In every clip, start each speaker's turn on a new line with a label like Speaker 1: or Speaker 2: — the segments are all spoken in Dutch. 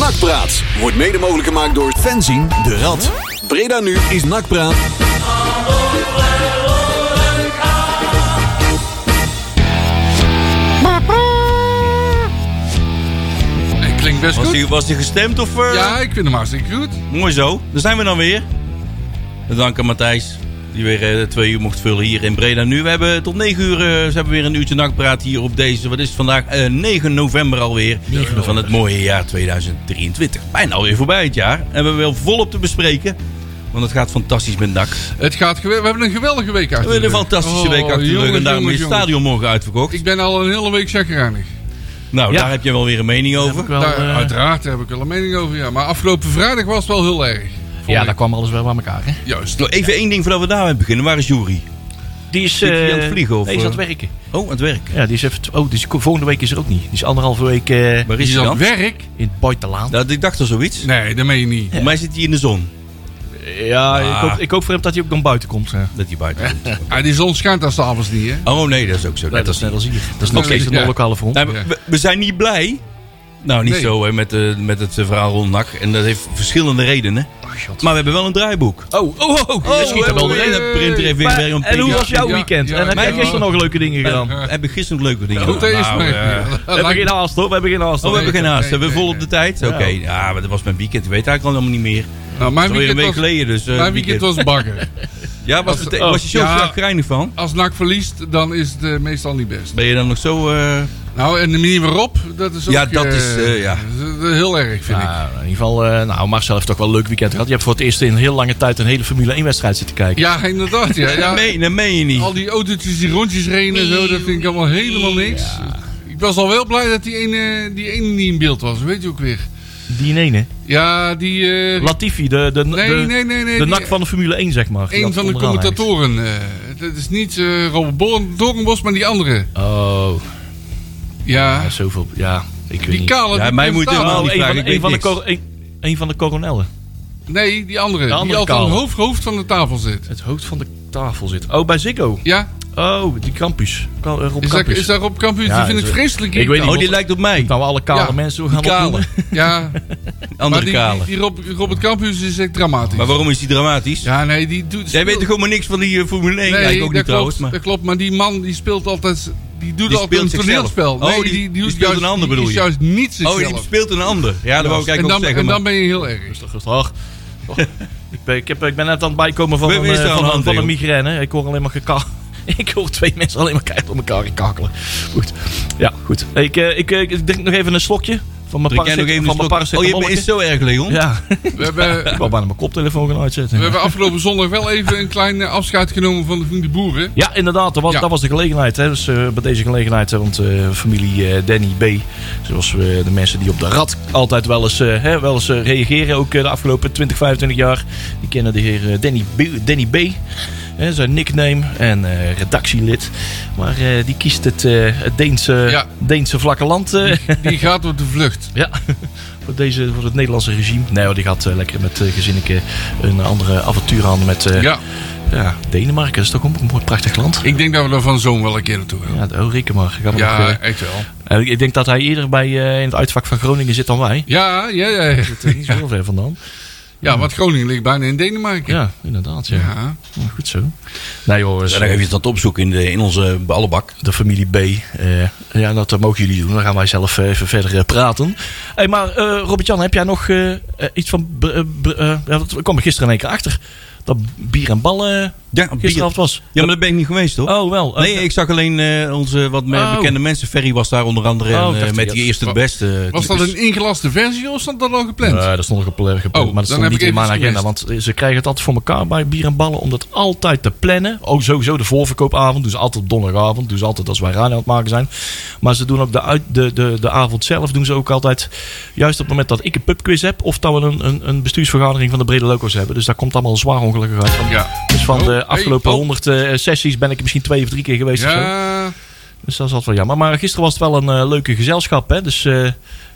Speaker 1: Nakpraat wordt mede mogelijk gemaakt door Fenzien de Rad. Breda nu is Nakpraat.
Speaker 2: Hij klinkt best
Speaker 3: Was
Speaker 2: goed.
Speaker 3: die, was die gestemd of... eh,
Speaker 2: Ja, ik vind hem hartstikke goed.
Speaker 3: Mooi zo. Daar zijn we dan weer. Bedankt aan Matthijs. Die weer eh, twee uur mocht vullen hier in Breda. Nu, we hebben tot negen uur eh, ze hebben weer een uurtje nachtpraat hier op deze. Wat is het vandaag? Eh, 9 november alweer. Van het mooie jaar 2023. Bijna alweer voorbij het jaar. En we hebben wel volop te bespreken. Want het gaat fantastisch met NAC. We
Speaker 2: Het gaat gewe- We hebben een geweldige week achter
Speaker 3: hebben een
Speaker 2: de rug.
Speaker 3: fantastische
Speaker 2: Oh,
Speaker 3: week achter de rug.
Speaker 2: jongens,
Speaker 3: En daarom is
Speaker 2: jongens,
Speaker 3: het
Speaker 2: jongens.
Speaker 3: stadion morgen uitverkocht.
Speaker 2: Ik ben al een hele week chagrijnig.
Speaker 3: nou,
Speaker 4: Ja.
Speaker 3: daar heb je wel weer een mening
Speaker 4: Heb
Speaker 3: over.
Speaker 4: ik wel,
Speaker 2: Daar,
Speaker 4: eh,
Speaker 2: Uiteraard daar heb ik wel een mening over, ja. Maar afgelopen vrijdag was het wel heel erg. Vond
Speaker 4: ja,
Speaker 2: ik.
Speaker 4: daar kwam alles wel bij elkaar. Hè?
Speaker 2: Juist.
Speaker 3: Even één ding voordat we daarmee beginnen. Waar is Jury?
Speaker 4: Die is,
Speaker 3: Zit die
Speaker 4: eh,
Speaker 3: aan het vliegen, of,
Speaker 4: Nee, die is aan
Speaker 3: eh?
Speaker 4: het werken.
Speaker 3: Oh, aan het werk.
Speaker 4: Ja, die is even. Oh, die is, volgende week is er ook niet. Die is anderhalve week eh,
Speaker 3: Waar
Speaker 2: Is
Speaker 3: is
Speaker 2: het
Speaker 3: hij
Speaker 2: aan het
Speaker 3: dan?
Speaker 2: werk?
Speaker 4: in het buitenland.
Speaker 3: Dat, Nou, ik dacht al zoiets.
Speaker 2: Nee, dat meen je niet.
Speaker 3: Voor mij zit hij in de zon.
Speaker 4: Ja,
Speaker 3: Ah.
Speaker 4: Ik, hoop, ik hoop voor hem dat hij ook dan buiten komt. eh. Ja.
Speaker 3: Dat hij buiten komt.
Speaker 2: Ah, die zon schijnt daar s'avonds niet, hè?
Speaker 3: Oh nee, dat is ook zo.
Speaker 4: Dat is net als hier. Dat is nog
Speaker 2: Oké,
Speaker 4: steeds
Speaker 2: ja.
Speaker 4: een lokale front.
Speaker 3: Nou, we, we zijn niet blij. Nou, niet
Speaker 2: Nee.
Speaker 3: zo hè, met, eh, met het eh, verhaal rond NAC. En dat heeft verschillende redenen.
Speaker 4: shot.
Speaker 3: maar we hebben wel een draaiboek.
Speaker 4: Oh, oh, oh.
Speaker 3: Oh,
Speaker 4: dat schiet er wel
Speaker 3: we
Speaker 4: doorheen.
Speaker 3: hebben de printer even in
Speaker 4: Maar-
Speaker 3: het werk om
Speaker 4: en hoe
Speaker 3: te-
Speaker 4: was jouw
Speaker 2: ja,
Speaker 4: weekend?
Speaker 2: ja,
Speaker 4: en heb
Speaker 3: mijn
Speaker 4: jij gisteren nog leuke dingen gedaan?
Speaker 3: We hebben gisteren nog leuke dingen
Speaker 2: Goed
Speaker 3: gedaan.
Speaker 2: eens,
Speaker 3: Nou,
Speaker 2: maar-
Speaker 3: eh,
Speaker 2: ja, nou,
Speaker 4: we hebben geen haast hoor, we hebben geen haast.
Speaker 3: Oh, we
Speaker 4: hoor.
Speaker 3: hebben geen haast.
Speaker 2: Nee,
Speaker 3: Hebben we
Speaker 2: nee,
Speaker 3: vol op de tijd? Oké.
Speaker 4: Ja.
Speaker 3: Ja, maar dat was mijn weekend. Ik weet eigenlijk allemaal niet meer.
Speaker 2: Nou,
Speaker 3: Dat
Speaker 2: mijn
Speaker 3: is alweer een week
Speaker 2: weekend was,
Speaker 3: geleden. Dus, eh,
Speaker 2: mijn weekend was bagger.
Speaker 3: Ja, was, het, eh, was je zo
Speaker 2: Ja.
Speaker 3: chagrijnig van?
Speaker 2: Als NAC verliest, dan is het eh, meestal niet best.
Speaker 3: Ben je dan nog zo... eh,
Speaker 2: Nou, en de manier waarop, dat is ook...
Speaker 3: Ja, dat
Speaker 2: eh,
Speaker 3: is, eh, ja.
Speaker 2: dat is Heel erg, vind ik.
Speaker 4: Nou, in ieder geval, eh, nou, Marcel heeft toch wel een leuk weekend gehad. Je hebt voor het eerst in heel lange tijd een hele Formule 1 wedstrijd zitten kijken.
Speaker 2: Ja, inderdaad, ja. ja.
Speaker 3: Nee, dat meen je niet.
Speaker 2: Al die autootjes die rondjes reden en zo, dat vind ik allemaal helemaal niks. Ik was al wel blij dat die ene, die ene niet in beeld was, weet je ook weer.
Speaker 4: Die in één, hè?
Speaker 2: Ja, die... eh,
Speaker 4: Latifi, de, de,
Speaker 2: nee,
Speaker 4: de,
Speaker 2: nee, nee, nee.
Speaker 4: de
Speaker 2: die- eh,
Speaker 4: nak van de Formule 1, zeg maar. Die
Speaker 2: Een
Speaker 4: had
Speaker 2: van de
Speaker 4: onderaan ergens.
Speaker 2: commentatoren. eh, dat is niet eh, Robert Born- Doornbos, maar die andere.
Speaker 4: Oh,
Speaker 2: Ja,
Speaker 4: ja, zoveel. Ja, ik weet
Speaker 2: die
Speaker 4: niet. Ah,
Speaker 2: kale.
Speaker 3: Ja,
Speaker 2: die
Speaker 3: mij moet
Speaker 2: presentator.
Speaker 3: helemaal
Speaker 4: Oh,
Speaker 3: die
Speaker 4: een
Speaker 3: vraag,
Speaker 4: van,
Speaker 3: ik
Speaker 4: de-
Speaker 3: weet
Speaker 4: een, van de
Speaker 3: niks.
Speaker 4: kor- een, een van de coronellen.
Speaker 2: Nee, die andere.
Speaker 4: andere
Speaker 2: die altijd aan het
Speaker 4: kale.
Speaker 2: hoofd, hoofd van de tafel zit.
Speaker 4: Het hoofd van de tafel zit. Oh, bij Ziggo.
Speaker 2: Ja,
Speaker 4: Oh, die Campus. Ka- eh, Rob
Speaker 2: is, daar
Speaker 4: Campus.
Speaker 2: is daar op campus?
Speaker 4: Ja,
Speaker 2: die vind
Speaker 4: is
Speaker 2: ik
Speaker 4: er- Ik
Speaker 2: vreselijk.
Speaker 4: weet
Speaker 2: irritant.
Speaker 3: Oh, die lijkt op mij.
Speaker 4: Nou, alle kale
Speaker 2: Ja,
Speaker 4: mensen gaan
Speaker 3: Kale.
Speaker 4: opnoemen.
Speaker 2: Ja, maar
Speaker 3: Andere
Speaker 2: die,
Speaker 3: kale.
Speaker 2: die, die Rob, Robert Campus is echt dramatisch.
Speaker 3: Maar waarom is die dramatisch?
Speaker 2: Ja, nee, die doet...
Speaker 3: Jij weet toch helemaal niks van die eh, Formule 1?
Speaker 2: Nee,
Speaker 3: Nee, ik
Speaker 2: dat
Speaker 3: ook niet
Speaker 2: klopt,
Speaker 3: trouwens. Maar
Speaker 2: dat klopt. Maar die man die speelt altijd... Die doet
Speaker 3: Die
Speaker 2: altijd een
Speaker 3: speelt zichzelf.
Speaker 2: toneelspel.
Speaker 3: Oh,
Speaker 2: Nee,
Speaker 3: die- die
Speaker 2: doet
Speaker 3: speelt
Speaker 2: juist-
Speaker 3: een ander,
Speaker 2: die
Speaker 3: bedoel
Speaker 2: is
Speaker 3: je?
Speaker 2: juist niet
Speaker 3: oh,
Speaker 2: zichzelf.
Speaker 3: die speelt een ander. Ja, dat wou ik
Speaker 2: en
Speaker 3: eigenlijk
Speaker 2: dan,
Speaker 3: ook zeggen.
Speaker 2: en
Speaker 3: Maar
Speaker 2: dan ben je heel erg.
Speaker 4: Rustig, rustig. Ach. Och. ik, ben, ik, heb, ik ben net aan het bijkomen van
Speaker 3: Wie-
Speaker 4: een,
Speaker 3: wie is er
Speaker 4: eh,
Speaker 3: aan
Speaker 4: van,
Speaker 3: de
Speaker 4: een,
Speaker 3: hand,
Speaker 4: van een
Speaker 3: Leon?
Speaker 4: migraine. Ik hoor alleen maar gekak. Ik hoor twee mensen alleen maar keihard op elkaar kakelen. Goed. Ja, goed. Ik, eh, ik, eh, ik drink nog even een slokje van mijn
Speaker 3: drink jij nog even
Speaker 4: paracetamol.
Speaker 3: een
Speaker 4: Van mijn
Speaker 3: slok. Oh, je bent
Speaker 4: paracetamolke.
Speaker 3: is zo erg, Leon.
Speaker 4: Ja, ik
Speaker 2: We hebben,
Speaker 4: wou bijna mijn koptelefoon gaan uitzetten.
Speaker 2: we hebben afgelopen zondag wel even een klein eh, afscheid genomen van de vrienden boeren.
Speaker 4: Ja, inderdaad. Dat was,
Speaker 2: Ja.
Speaker 4: dat was de gelegenheid. Hè. Dus eh, bij deze gelegenheid, hè, want eh, familie eh, Danny B. Zoals we de mensen die op de rad altijd wel eens, eh, hè, wel eens eh, reageren. Ook eh, de afgelopen 20, 25 jaar. Die kennen de heer eh, Danny B. Danny B hè, zijn nickname en eh, redactielid. Maar eh, die kiest het, eh, het Deense,
Speaker 2: Ja.
Speaker 4: Deense vlakke land. eh,
Speaker 2: Die gaat op de vlucht.
Speaker 4: ja, voor, deze, voor het Nederlandse regime. Nee, hoor, die gaat eh, lekker met eh, gezinnetje een andere avontuur aan met eh, ja.
Speaker 2: Ja,
Speaker 4: Denemarken. Dat is toch ook een mooi, prachtig land.
Speaker 2: ik denk dat we daar van zo'n wel een keer naartoe gaan.
Speaker 4: Ja, de- oh, reken maar. Gaan we nog,
Speaker 2: Ja,
Speaker 4: eh,
Speaker 2: echt wel.
Speaker 4: en ik- ik denk dat hij eerder bij, eh, in het uitvak van Groningen zit dan wij.
Speaker 2: Ja, ja, ja.
Speaker 4: Dat is niet zo heel ver vandaan.
Speaker 2: Ja, want Groningen ligt bijna in Denemarken.
Speaker 4: Ja, inderdaad. Ja.
Speaker 2: Ja.
Speaker 4: Nou, goed zo. Nou jongens,
Speaker 3: Ja, Dan even dat opzoeken in, de, in onze eh, ballenbak.
Speaker 4: de familie B. eh, ja, dat eh, mogen jullie doen. Dan gaan wij zelf eh, even verder eh, praten. Hey, maar eh, Robert-Jan, heb jij nog eh, eh, iets van... b- eh, b- eh, ja, dat kwam er gisteren in één keer achter. Dat bier en ballen eh,
Speaker 3: Ja,
Speaker 4: gisteravond was.
Speaker 3: Ja, maar daar ben ik niet geweest, hoor.
Speaker 4: Oh, wel. eh,
Speaker 3: Nee, ik zag alleen eh, onze wat me-
Speaker 4: Oh.
Speaker 3: bekende mensen. Ferry was daar onder andere. en,
Speaker 4: Oh, ik
Speaker 3: eh,
Speaker 4: dacht
Speaker 3: met
Speaker 4: dat-
Speaker 3: die eerste de beste. eh,
Speaker 2: Was dat een ingelaste versie of stond dat al gepland?
Speaker 4: Nee, dat stond nog op eh, gepland,
Speaker 2: Oh,
Speaker 4: maar dat
Speaker 2: dan
Speaker 4: stond
Speaker 2: heb
Speaker 4: niet
Speaker 2: ik
Speaker 4: in
Speaker 2: even
Speaker 4: mijn agenda. Want eh, ze krijgen het altijd voor elkaar bij bier en ballen om dat altijd te plannen. Ook sowieso de voorverkoopavond, dus altijd op donderdagavond, dus altijd als wij radio aan het maken zijn. Maar ze doen ook de, uit, de, de, de avond zelf, doen ze ook altijd, juist op het moment dat ik een pubquiz heb, of dat we een, een, een bestuursvergadering van de Brede Loco's hebben. Dus daar komt allemaal zwaar ongelukkig uit. Van.
Speaker 2: Ja.
Speaker 4: Dus van
Speaker 2: Oh, hey,
Speaker 4: de afgelopen
Speaker 2: oh.
Speaker 4: honderd eh, sessies ben ik er misschien twee of drie keer geweest. of zo.
Speaker 2: Ja.
Speaker 4: Dus dat is altijd wel jammer. Maar gisteren was het wel een eh, leuke gezelschap. Hè? Dus eh,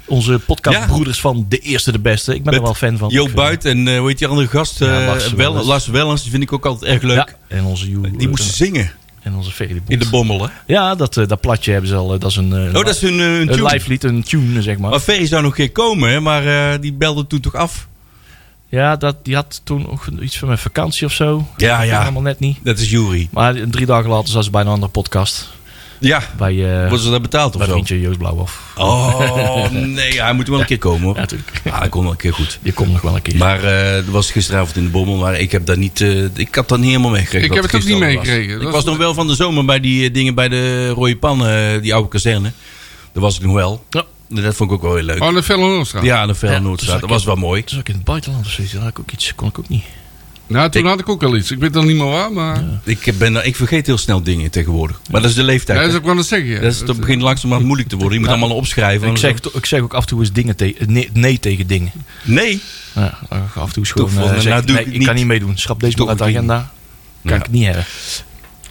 Speaker 4: onze podcastbroeders van De Eerste De Beste. Ik ben
Speaker 3: Met
Speaker 4: er wel fan van. Ik
Speaker 3: Jo
Speaker 4: vind-
Speaker 3: Buit en eh, hoe heet die andere gast?
Speaker 4: Ja,
Speaker 3: eh,
Speaker 4: Lars
Speaker 3: Wel-
Speaker 4: Wellens.
Speaker 3: Lars Wellens. Die vind ik ook altijd erg leuk.
Speaker 4: Ja, en onze Joe. eh,
Speaker 3: Die moest zingen.
Speaker 4: En onze Ferry de Bond.
Speaker 3: In de bommel, hè?
Speaker 4: Ja, dat, eh, dat platje hebben ze al. eh, dat is een, eh,
Speaker 3: Oh, dat is hun, eh, hun
Speaker 4: een
Speaker 3: tune.
Speaker 4: live lied, een tune, zeg maar.
Speaker 3: Maar Ferry zou nog een keer komen, hè? maar eh, die belde toen toch af.
Speaker 4: Ja, dat, die had toen ook iets van mijn vakantie of zo.
Speaker 3: Ja,
Speaker 4: Dat
Speaker 3: ja.
Speaker 4: ging Allemaal net niet.
Speaker 3: Dat is Jury.
Speaker 4: Maar drie dagen later zat ze bij een andere podcast.
Speaker 3: Ja,
Speaker 4: Bij, eh,
Speaker 3: worden ze daar betaald of
Speaker 4: bij
Speaker 3: zo?
Speaker 4: vriendje Joost Blauwhof.
Speaker 3: Oh, nee, hij moet wel een keer komen hoor.
Speaker 4: Ja, natuurlijk.
Speaker 3: Ah, hij komt wel een keer goed.
Speaker 4: Je komt nog wel een keer.
Speaker 3: Maar eh, dat was gisteravond in de bommel, maar ik heb dat niet, eh, ik had dat niet helemaal meegekregen.
Speaker 2: Ik
Speaker 3: wat
Speaker 2: heb het ook niet
Speaker 3: gisteravond was.
Speaker 2: meegekregen.
Speaker 3: Ik
Speaker 2: Dat
Speaker 3: was
Speaker 2: is-
Speaker 3: nog wel van de zomer bij die eh, dingen bij de Rode Pan, eh, die oude kazerne. Daar was ik nog wel.
Speaker 4: Ja.
Speaker 3: Dat vond ik ook wel heel leuk.
Speaker 2: Oh, de Felle Noordstraat.
Speaker 3: Ja, aan de Verre
Speaker 4: Ja,
Speaker 3: Noordstraat.
Speaker 4: dus
Speaker 3: Dat
Speaker 4: ik-
Speaker 3: was wel mooi.
Speaker 4: Het is ook in het buitenland of zoiets. Daar had ik ook iets, kon ik ook niet.
Speaker 2: Nou, toen
Speaker 3: Ik-
Speaker 2: had ik ook al iets. Ik weet dan niet meer waar, maar...
Speaker 3: Ik, eh, ben, ik vergeet heel snel dingen tegenwoordig. Maar dat is de leeftijd.
Speaker 2: Ja, dat eh,
Speaker 3: hè.
Speaker 2: is ook wel aan het zeggen, ja.
Speaker 3: Dat is, het begint langzamerhand moeilijk te worden. Je moet allemaal opschrijven.
Speaker 4: ik, zeg, to- ik zeg ook af en toe eens dingen te, nee, nee tegen dingen.
Speaker 3: nee.
Speaker 4: Ja, af en toe is gewoon.
Speaker 3: Doe-
Speaker 4: eh,
Speaker 3: nou,
Speaker 4: zeg ik,
Speaker 3: doe
Speaker 4: nee,
Speaker 3: ik
Speaker 4: ik
Speaker 3: niet.
Speaker 4: kan niet meedoen. Schrap deze
Speaker 3: Doe
Speaker 4: maar uit de
Speaker 3: ik niet.
Speaker 4: agenda. Kan
Speaker 3: Ja.
Speaker 4: ik niet hebben.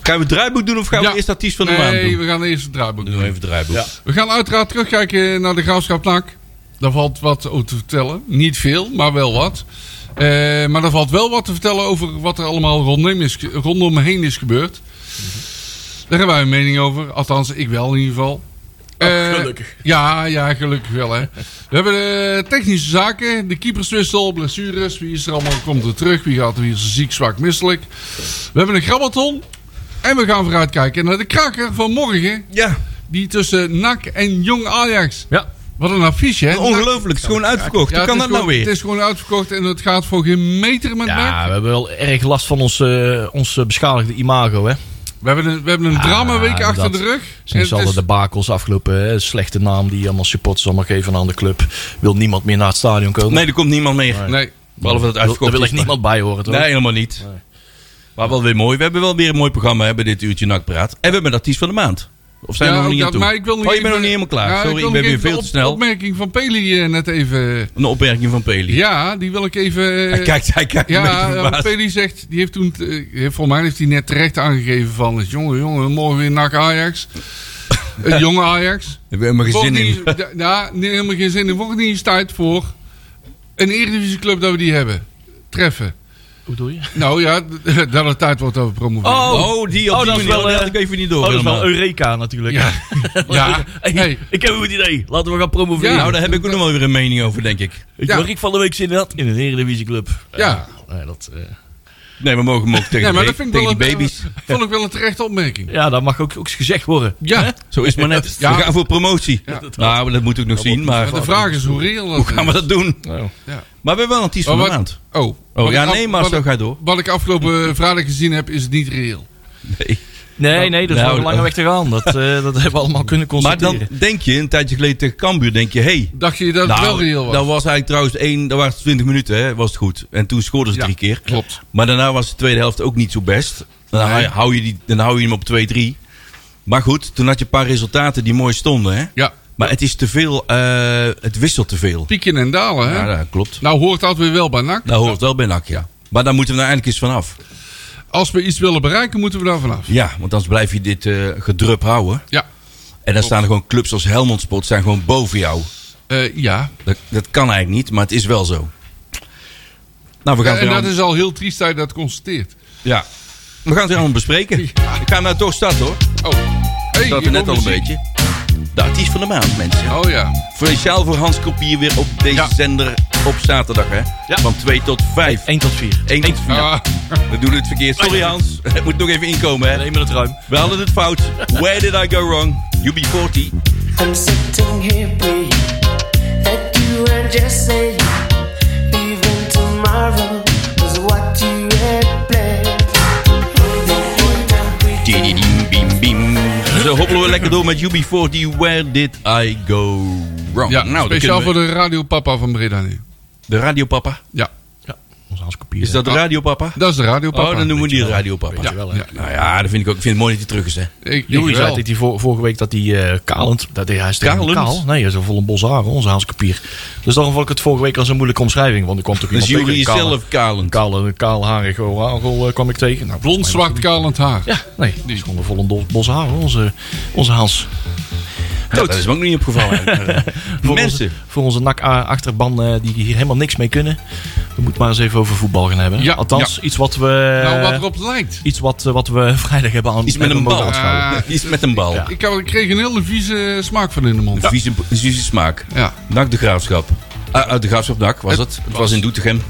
Speaker 3: Gaan we het draaiboek doen of gaan
Speaker 2: Ja.
Speaker 3: we eerst artiest van de maand
Speaker 2: Nee,
Speaker 3: doen?
Speaker 2: we gaan eerst het draaiboek
Speaker 3: Doen we
Speaker 2: doen.
Speaker 3: even het draaiboek.
Speaker 2: We gaan uiteraard terugkijken naar de Graafschap NAC. Daar valt wat over te vertellen. Niet veel, maar wel wat. Eh, maar er valt wel wat te vertellen over wat er allemaal rondom, is, rondom heen is gebeurd. Daar hebben wij een mening over. Althans, ik wel in ieder geval. Eh,
Speaker 4: gelukkig.
Speaker 2: Ja, ja, gelukkig wel hè. We hebben de technische zaken, de keeperswissel, blessures. Wie is er allemaal, komt er terug? Wie gaat er weer ziek, zwak, misselijk? We hebben een grabbelton. En we gaan vooruitkijken naar de kraker van morgen.
Speaker 3: Ja,
Speaker 2: Die tussen NAC en Jong Ajax.
Speaker 4: Ja.
Speaker 2: Wat een affiche, hè? NAC-
Speaker 3: ongelooflijk. Het is gewoon uitverkocht.
Speaker 2: Ja,
Speaker 3: Hoe
Speaker 2: het
Speaker 3: kan
Speaker 2: is
Speaker 3: dat nou
Speaker 2: gewoon-
Speaker 3: weer?
Speaker 2: Het is gewoon uitverkocht en het gaat voor geen meter met
Speaker 4: Ja,
Speaker 2: NAC.
Speaker 4: we hebben wel erg last van ons, eh, ons eh, beschadigde imago. Hè?
Speaker 2: We hebben een, we hebben een
Speaker 4: Ah,
Speaker 2: dramaweek achter
Speaker 4: dat-
Speaker 2: de rug. En het
Speaker 4: Sinds alle
Speaker 2: is-
Speaker 4: debakels afgelopen. Hè? Slechte naam die allemaal supporters allemaal geven aan de club. Wil niemand meer naar het stadion komen.
Speaker 3: Nee, er komt niemand meer.
Speaker 2: Nee.
Speaker 3: Behalve dat
Speaker 4: Wil-
Speaker 3: het uitverkocht
Speaker 4: daar wil
Speaker 3: is,
Speaker 4: ik
Speaker 3: maar-
Speaker 4: niemand bij horen. Toch?
Speaker 3: Nee, helemaal niet. Maar wel weer mooi. We hebben wel weer een mooi programma hè, bij dit uurtje nakpraat. En we hebben een artiest van de maand. Of zijn we
Speaker 2: Ja,
Speaker 3: er nog
Speaker 2: ook
Speaker 3: niet aan
Speaker 2: dat,
Speaker 3: toe?
Speaker 2: maar ik wil nog
Speaker 3: oh, je
Speaker 2: even-
Speaker 3: bent nog niet helemaal klaar.
Speaker 2: Ja,
Speaker 3: Sorry,
Speaker 2: wil
Speaker 3: ik
Speaker 2: nog
Speaker 3: ben weer
Speaker 2: even
Speaker 3: veel
Speaker 2: op-
Speaker 3: te snel.
Speaker 2: opmerking van Peli eh, net even.
Speaker 3: Een opmerking van Peli.
Speaker 2: Ja, die wil ik even. eh,
Speaker 3: Hij kijkt, hij kijkt een beetje
Speaker 2: Ja, ja,
Speaker 3: verbaasd.
Speaker 2: Peli zegt, die heeft toen, eh, heeft- volgens mij heeft hij net terecht aangegeven van, jongen, jongen, morgen weer NAC Ajax. Het jonge Ajax.
Speaker 3: Ik heb er mijn
Speaker 2: Wordt
Speaker 3: gezin in.
Speaker 2: niet- ja, Ja, nee, helemaal geen zin in. Wordt niet eens tijd voor een Eredivisieclub dat we die hebben. Treffen.
Speaker 4: Hoe bedoel je?
Speaker 2: Nou ja, d- dat het tijd wordt dat we promoveren.
Speaker 3: Oh, die op
Speaker 4: Oh,
Speaker 3: die
Speaker 4: dat is
Speaker 3: manier.
Speaker 4: wel,
Speaker 3: Oh, die
Speaker 4: eh,
Speaker 3: had ik even niet door.
Speaker 4: Oh, dat is
Speaker 3: helemaal.
Speaker 4: wel Eureka natuurlijk.
Speaker 2: Ja. Ja.
Speaker 4: Hey,
Speaker 2: Hey.
Speaker 4: Ik heb een goed idee. Laten we gaan promoveren.
Speaker 2: Ja.
Speaker 3: Nou, daar heb ik ook nog wel weer een mening over, denk ik.
Speaker 4: Ik
Speaker 2: Ja.
Speaker 4: waar ik van de week zin had in een Eredivisieclub.
Speaker 2: Ja.
Speaker 4: Eh, nee, dat, eh,
Speaker 3: Nee, we mogen hem ook tegen,
Speaker 2: ja, maar
Speaker 3: de,
Speaker 2: dat
Speaker 3: ba-
Speaker 2: vind ik
Speaker 3: tegen
Speaker 2: wel
Speaker 3: die
Speaker 2: een,
Speaker 3: baby's.
Speaker 2: vond ik wel een terechte opmerking.
Speaker 4: ja, dat mag ook, ook eens gezegd worden.
Speaker 2: Ja,
Speaker 3: Zo is het maar net.
Speaker 2: Ja.
Speaker 3: We gaan voor promotie.
Speaker 2: Ja.
Speaker 3: Nou, dat moet ik nog zien, maar
Speaker 2: maar de vraag is hoe reëel dat
Speaker 3: hoe gaan we dat doen?
Speaker 2: Ja.
Speaker 3: Maar we hebben wel een artiest van de
Speaker 2: Maar wat-
Speaker 3: maand.
Speaker 2: Oh,
Speaker 3: Oh,
Speaker 2: Wat
Speaker 3: ja,
Speaker 2: ik af-
Speaker 3: nee,
Speaker 2: wat
Speaker 3: maar zo
Speaker 2: ik-
Speaker 3: ga door.
Speaker 2: Wat ik afgelopen vrijdag gezien heb, is het niet reëel.
Speaker 3: Nee.
Speaker 4: Nee, nee, dat is
Speaker 3: Nou,
Speaker 4: nog een lange
Speaker 3: dat-
Speaker 4: weg te gaan. Dat, eh, dat hebben we allemaal kunnen
Speaker 3: Maar
Speaker 4: constateren.
Speaker 3: dan denk je, een tijdje geleden tegen Cambuur, denk je, hé. Hey,
Speaker 2: Dacht je dat het wel reëel was?
Speaker 3: Nou, dat was eigenlijk trouwens één, dat waren 20 minuten, hè, was het goed. En toen scoorden ze
Speaker 2: Ja,
Speaker 3: drie keer.
Speaker 2: klopt.
Speaker 3: Maar daarna was de tweede helft ook niet zo best. Dan, hou, je- hou je die, dan hou je hem op 2-3. Maar goed, toen had je een paar resultaten die mooi stonden. Hè?
Speaker 2: Ja,
Speaker 3: Maar het is te veel, eh, het wisselt te veel.
Speaker 2: pieken en dalen, hè?
Speaker 3: Ja, dat klopt.
Speaker 2: Nou hoort dat weer wel bij NAC.
Speaker 3: Dat hoort wel bij NAC, ja. Maar daar moeten we nou eindelijk eens vanaf.
Speaker 2: Als we iets willen bereiken, moeten we daar vanaf.
Speaker 3: Ja, want anders blijf je dit eh, gedrup houden.
Speaker 2: Ja,
Speaker 3: En dan staan er gewoon clubs als Helmond Sport zijn gewoon boven jou.
Speaker 2: Eh, ja.
Speaker 3: Dat, dat kan eigenlijk niet, maar het is wel zo. Nou, we gaan
Speaker 2: Ja,
Speaker 3: het
Speaker 2: en
Speaker 3: weer
Speaker 2: dat
Speaker 3: aan-
Speaker 2: is al heel triest dat je dat constateert.
Speaker 3: Ja. We gaan het weer allemaal bespreken. Ik ga hem nou toch starten hoor.
Speaker 2: Oh, hey,
Speaker 3: Ik had
Speaker 2: hier
Speaker 3: er net al
Speaker 2: komt
Speaker 3: een
Speaker 2: muziek.
Speaker 3: beetje. De artiest van de maand, mensen.
Speaker 2: Oh ja,
Speaker 3: Speciaal voor Hans Kopier weer op deze
Speaker 2: Ja.
Speaker 3: zender op zaterdag, hè?
Speaker 4: Ja.
Speaker 3: Van 2 tot 5.
Speaker 4: 1 tot 4.
Speaker 3: 1 tot 4.
Speaker 2: Ah,
Speaker 3: We doen het verkeerd. Sorry Hans, het moet nog even inkomen, hè?
Speaker 4: Neem me het ruim.
Speaker 3: We hadden het fout. Where did I go wrong? UB40.
Speaker 5: I'm sitting here praying that you were just saying, even tomorrow was what you had planned.
Speaker 3: Dididim, bim, bim. Zo hobbelen we lekker door met UB40. Where did I go wrong?
Speaker 2: ja
Speaker 3: Nou, dan
Speaker 2: speciaal
Speaker 3: kunnen
Speaker 2: voor
Speaker 3: we-
Speaker 2: de radiopapa van Breda nu.
Speaker 3: de radiopapa.
Speaker 2: Ja,
Speaker 4: Ja, onze Hans Kopier. eh.
Speaker 3: Is dat de
Speaker 2: Ah.
Speaker 3: radiopapa?
Speaker 2: dat is de radiopapa.
Speaker 3: Oh, dan noemen we die de radiopapa.
Speaker 4: Weet je
Speaker 3: Ja.
Speaker 4: wel, hè?
Speaker 2: ja.
Speaker 3: Nou ja, dat vind ik ook. Ik vind het mooi dat hij terug is, hè?
Speaker 2: Ik, ik
Speaker 4: Joey zei
Speaker 2: wel.
Speaker 4: dat hij vor- vorige week dat hij eh kalend... Dat hij, hij is toch
Speaker 3: Kalend?
Speaker 4: helemaal kaal? Nee, hij is vol een bos haren, onze Hans Kopier. Dus daarom vond ik het vorige week als een moeilijke omschrijving. Want ik kwam toch
Speaker 3: Dus
Speaker 4: iemand
Speaker 3: jullie
Speaker 4: tegen, een kale-
Speaker 3: zelf kalend.
Speaker 4: Een kale, een kaalharig orangel eh, kwam ik tegen. Nou,
Speaker 2: Blond,
Speaker 4: volgens mij
Speaker 2: zwart, kalend haar.
Speaker 4: Ja, nee. Die is gewoon vol een bos- bos haren, onze, onze Hans.
Speaker 3: Ja, dat is me ook nog niet opgevallen. eigenlijk. Maar, eh,
Speaker 4: Voor
Speaker 3: Mensen,
Speaker 4: Onze, voor onze nak-achterban die hier helemaal niks mee kunnen. We moeten maar eens even over voetbal gaan hebben.
Speaker 2: Ja,
Speaker 4: Althans, iets wat we...
Speaker 2: nou, wat erop lijkt.
Speaker 4: Iets wat, eh, wat we vrijdag hebben aan
Speaker 3: Iets met een
Speaker 4: hebben mogen
Speaker 3: bal.
Speaker 4: aanschouwen.
Speaker 2: Ah,
Speaker 3: Iets met een bal.
Speaker 4: Ja.
Speaker 2: Ik, heb- ik kreeg een hele vieze smaak van in de mond.
Speaker 3: Een vieze, vieze smaak.
Speaker 2: Ja.
Speaker 3: Nak de Graafschap. Ah, ah, de Graafschap Nak was het. Het was in Doetinchem.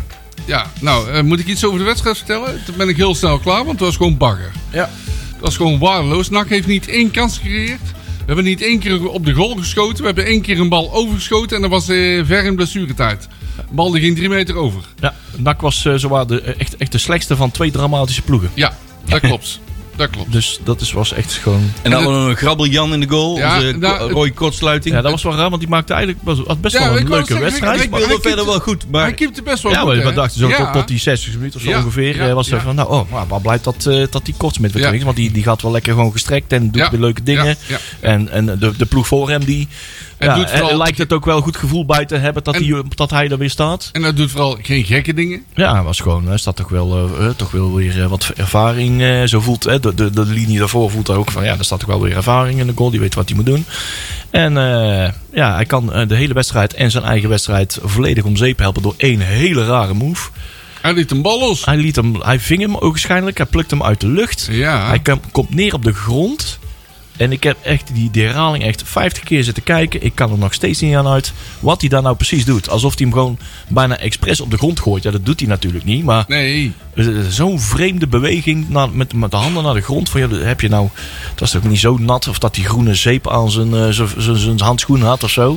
Speaker 2: Ja, nou, eh, moet ik iets over de wedstrijd vertellen? Dan ben ik heel snel klaar, want het was gewoon bagger.
Speaker 4: Ja.
Speaker 2: Het was gewoon waardeloos. NAC heeft niet één kans gecreëerd. We hebben niet één keer op de goal geschoten. We hebben één keer een bal overgeschoten en dat was eh, ver in blessuretijd. De bal die ging drie meter over.
Speaker 4: Ja, NAC was eh, zowaar de, echt, echt de slechtste van twee dramatische ploegen.
Speaker 2: Ja, dat klopt. dat klopt.
Speaker 4: Dus dat is, was echt gewoon...
Speaker 3: En dan hadden we een grabbel Jan in de goal.
Speaker 2: Ja,
Speaker 3: onze
Speaker 2: nou,
Speaker 3: Ko- Roy Kortsluiting.
Speaker 4: Ja, dat was wel raar, want die maakte eigenlijk was, had best
Speaker 2: Ja,
Speaker 4: wel
Speaker 2: ik
Speaker 4: een
Speaker 2: wou
Speaker 4: leuke
Speaker 2: zeggen,
Speaker 4: wedstrijd.
Speaker 2: ik-
Speaker 3: ik
Speaker 4: maar-
Speaker 2: Hij
Speaker 3: wilde
Speaker 2: keept-
Speaker 3: verder wel goed.
Speaker 2: Hij
Speaker 3: Maar
Speaker 2: keepte best wel
Speaker 4: ja,
Speaker 2: goed,
Speaker 4: maar we
Speaker 2: hè?
Speaker 4: dachten zo
Speaker 2: Ja.
Speaker 4: tot, tot die 60 minuten of zo
Speaker 2: Ja,
Speaker 4: ongeveer.
Speaker 2: ja,
Speaker 4: eh, was
Speaker 2: ja.
Speaker 4: er van, nou, oh, maar waar blijft dat, eh, dat die kort met weer
Speaker 2: Ja.
Speaker 4: niks? Want die, die gaat wel lekker gewoon gestrekt en doet
Speaker 2: Ja,
Speaker 4: weer leuke dingen.
Speaker 2: ja, ja.
Speaker 4: En, en de, de ploeg voor hem, die
Speaker 2: En
Speaker 4: ja,
Speaker 2: doet vooral-
Speaker 4: eh, lijkt het ook wel goed gevoel bij te hebben dat,
Speaker 2: En-
Speaker 4: die, dat hij er weer staat.
Speaker 2: En dat doet vooral geen gekke dingen.
Speaker 4: Ja, hij was gewoon, er staat toch wel, eh, eh, toch wel weer eh, wat ervaring. eh, zo voelt eh, de, de, de linie daarvoor voelt hij ook van ja, er staat toch wel weer ervaring in de goal. Die weet wat hij moet doen. En eh, ja, hij kan eh, de hele wedstrijd en zijn eigen wedstrijd volledig om zeep helpen door één hele rare move.
Speaker 2: Hij liet een bal los.
Speaker 4: Hij, liet hem, hij ving hem ogenschijnlijk. Hij plukt hem uit de lucht.
Speaker 2: Ja.
Speaker 4: Hij kam- komt neer op de grond. En ik heb echt die, die herhaling echt 50 keer zitten kijken. Ik kan er nog steeds niet aan uit wat hij daar nou precies doet. Alsof hij hem gewoon bijna expres op de grond gooit. Ja, dat doet hij natuurlijk niet. Maar
Speaker 2: Nee.
Speaker 4: eh, zo'n vreemde beweging naar, met, met de handen naar de grond. Van, ja, heb je nou, het was toch niet zo nat. Of dat die groene zeep aan zijn, eh, zijn, zijn, zijn handschoen had of zo.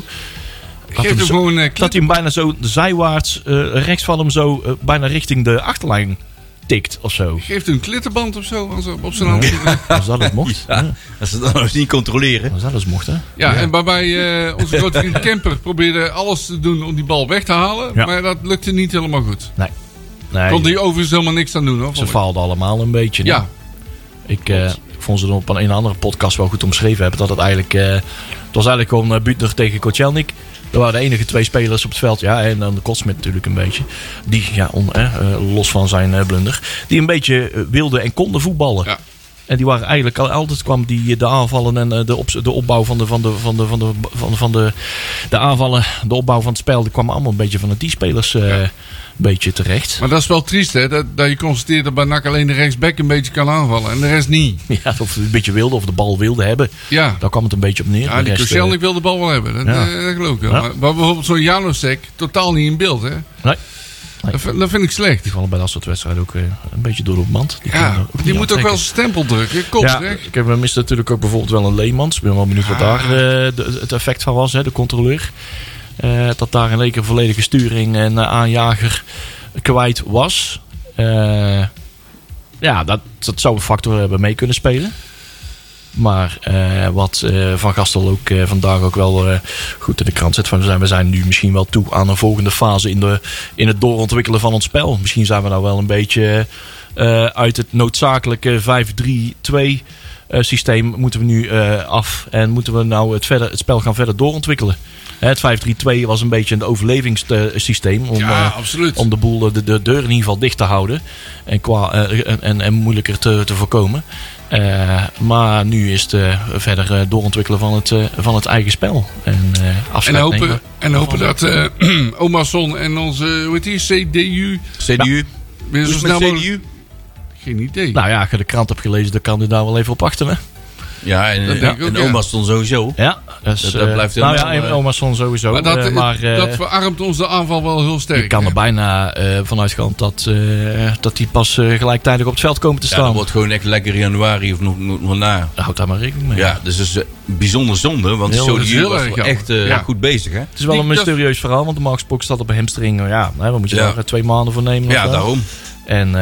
Speaker 4: Dat
Speaker 2: Geef
Speaker 4: hem
Speaker 2: hem
Speaker 4: zo-
Speaker 2: gewoon eh
Speaker 4: dat
Speaker 2: clip.
Speaker 4: hij hem bijna zo zijwaarts, eh, rechts van hem zo, eh, bijna richting de achterlijn tikt of zo.
Speaker 2: Geeft een klittenband of zo aan zijn- op zijn hand. Ja,
Speaker 4: Als dat het mocht.
Speaker 3: Ja.
Speaker 4: Ja,
Speaker 3: als ze dat nog eens niet controleren.
Speaker 4: als dat het mocht, hè.
Speaker 2: en waarbij eh, onze grote vriend Kemper probeerde alles te doen om die bal weg te halen.
Speaker 4: Ja.
Speaker 2: Maar dat lukte niet helemaal goed.
Speaker 4: Nee. nee
Speaker 2: Kon hij overigens helemaal niks aan doen hoor.
Speaker 4: ze
Speaker 2: vond ik.
Speaker 4: faalden allemaal een beetje.
Speaker 2: Ja,
Speaker 4: Ik eh, vond ze dan op een, een andere podcast wel goed omschreven hebben. Dat het eigenlijk. eh, het was eigenlijk gewoon eh, Butner tegen Kocelnik. Dat waren de enige twee spelers op het veld. Ja, en dan de Kotsmit natuurlijk een beetje. Die, ja, on, eh, eh, los van zijn eh, blunder. Die een beetje eh, wilden en konden voetballen.
Speaker 2: Ja.
Speaker 4: En die waren eigenlijk al altijd kwam die eh, de aanvallen en eh, de, op, de opbouw van de van de van de van de van de, van de, de aanvallen, de opbouw van het spel, die kwam allemaal een beetje van de die spelers eh, een beetje terecht.
Speaker 2: maar dat is wel triest hè. Dat, dat je constateert dat bij NAC alleen de rechtsback een beetje kan aanvallen. En de rest niet.
Speaker 4: Ja, of ze een beetje wilden of de bal wilden hebben.
Speaker 2: Ja.
Speaker 4: Daar kwam het een beetje op neer.
Speaker 2: Ja,
Speaker 4: De
Speaker 2: die
Speaker 4: rest, eh,
Speaker 2: Koscielnik wil de bal wel hebben. Dat,
Speaker 4: Ja.
Speaker 2: eh, dat geloof ik wel.
Speaker 4: Ja.
Speaker 2: Maar, maar bijvoorbeeld zo'n Janosek, totaal niet in beeld hè.
Speaker 4: Nee.
Speaker 2: Dat, vind- dat vind ik slecht.
Speaker 4: Die vallen bij dat soort wedstrijden ook eh, een beetje door op mand. kunnen
Speaker 2: Ja,
Speaker 4: dat ook
Speaker 2: die
Speaker 4: niet
Speaker 2: moet ook wel
Speaker 4: aantrekken.
Speaker 2: zijn stempel drukken. Kop
Speaker 4: Ja,
Speaker 2: zeg.
Speaker 4: ik heb we misten natuurlijk ook bijvoorbeeld wel een Leemans. Ik ben wel benieuwd wat
Speaker 2: Ah.
Speaker 4: daar eh, de- het effect van was, hè, de controleur. Eh, dat daar in één keer volledige sturing en eh, aanjager kwijt was. Eh, ja, dat, dat zou een factor hebben mee kunnen spelen. Maar eh, wat eh, Van Gastel ook eh, vandaag ook wel eh, goed in de krant zet. Van, we zijn- we zijn nu misschien wel toe aan een volgende fase in, de, in het doorontwikkelen van ons spel. Misschien zijn we nou wel een beetje eh, uit het noodzakelijke 5-3-2 eh, systeem moeten we nu eh, af. En moeten we nou het, verder, het spel gaan verder doorontwikkelen. Hè, het 5-3-2 was een beetje een overlevingssysteem. Om,
Speaker 2: Ja,
Speaker 4: eh,
Speaker 2: absoluut.
Speaker 4: om de boel eh, de, de deur in ieder geval dicht te houden. En, qua, eh, en, en, en moeilijker te, te voorkomen. Eh, maar nu is het eh, verder eh, doorontwikkelen van het, eh, van het eigen spel. En, eh
Speaker 2: En
Speaker 4: afscheid
Speaker 2: hopen,
Speaker 4: nemen.
Speaker 2: en hopen dat eh Omason en onze, eh, hoe heet die, CDU...
Speaker 3: CDU.
Speaker 2: Weer
Speaker 3: Hoe
Speaker 2: zo
Speaker 3: is het
Speaker 2: snel
Speaker 3: met
Speaker 2: mogelijk...
Speaker 3: CDU?
Speaker 2: Geen idee.
Speaker 4: Nou ja, als je de krant hebt gelezen, dan kan die daar wel even op achteren.
Speaker 3: Ja, en,
Speaker 2: Dat
Speaker 3: en,
Speaker 2: denk ik ook,
Speaker 3: en
Speaker 2: ja.
Speaker 3: oma stond sowieso.
Speaker 4: Ja, dus,
Speaker 3: Dat- dat
Speaker 4: eh,
Speaker 3: blijft
Speaker 4: Nou
Speaker 3: helemaal,
Speaker 4: ja,
Speaker 3: eh,
Speaker 4: Omerson sowieso.
Speaker 2: maar
Speaker 4: Maar,
Speaker 2: dat,
Speaker 4: maar eh,
Speaker 2: dat verarmt ons de aanval wel heel sterk.
Speaker 4: je kan
Speaker 2: hè?
Speaker 4: er bijna eh vanuit gaan dat, eh, dat die pas eh, gelijktijdig op het veld komen te
Speaker 3: Ja,
Speaker 4: staan. Nou,
Speaker 3: dat wordt gewoon echt lekker januari of nog, nog, nog na.
Speaker 4: Houd daar maar rekening mee.
Speaker 3: Ja, dus dat is eh, bijzonder zonde, want
Speaker 4: Heel-
Speaker 2: dat is
Speaker 3: CDU
Speaker 2: heel
Speaker 3: was
Speaker 2: erg
Speaker 3: wel
Speaker 2: jammer.
Speaker 3: echt eh,
Speaker 2: Ja.
Speaker 3: goed bezig, hè?
Speaker 4: Het is wel een
Speaker 2: Die- dat-
Speaker 4: mysterieus verhaal, want de Max Box staat op een hamstring. Ja, hè, wat moet je
Speaker 3: Ja.
Speaker 4: daar eh, twee maanden voor nemen? of
Speaker 3: Ja,
Speaker 4: zo?
Speaker 3: daarom.
Speaker 4: En eh,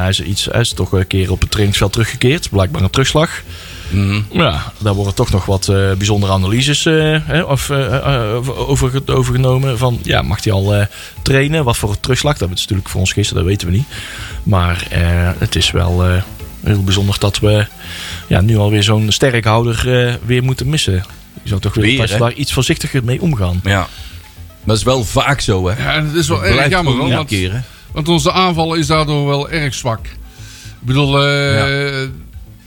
Speaker 4: hij, is iets, hij is toch een keer op het trainingsveld teruggekeerd. Blijkbaar een terugslag.
Speaker 3: Mhm.
Speaker 4: Ja, daar worden toch nog wat eh, bijzondere analyses eh, hè, of, eh, eh, over- over, overgenomen. Van ja, mag hij al eh, trainen? Wat voor een terugslag? Dat is natuurlijk voor ons gisteren, dat weten we niet. Maar eh, het is wel eh, heel bijzonder dat we ja, nu alweer zo'n sterkhouder eh, weer moeten missen. Je zou toch willen
Speaker 3: Weer,
Speaker 4: dat ze
Speaker 3: hè?
Speaker 4: daar iets voorzichtiger mee omgaan.
Speaker 3: Ja. Maar dat is wel vaak zo, hè?
Speaker 2: Ja, en dat is wel
Speaker 3: Het
Speaker 2: erg
Speaker 3: blijft
Speaker 2: jammer.
Speaker 3: gewoon
Speaker 2: hoor, want,
Speaker 3: omkeren.
Speaker 2: want onze aanval is daardoor wel erg zwak. Ik bedoel, eh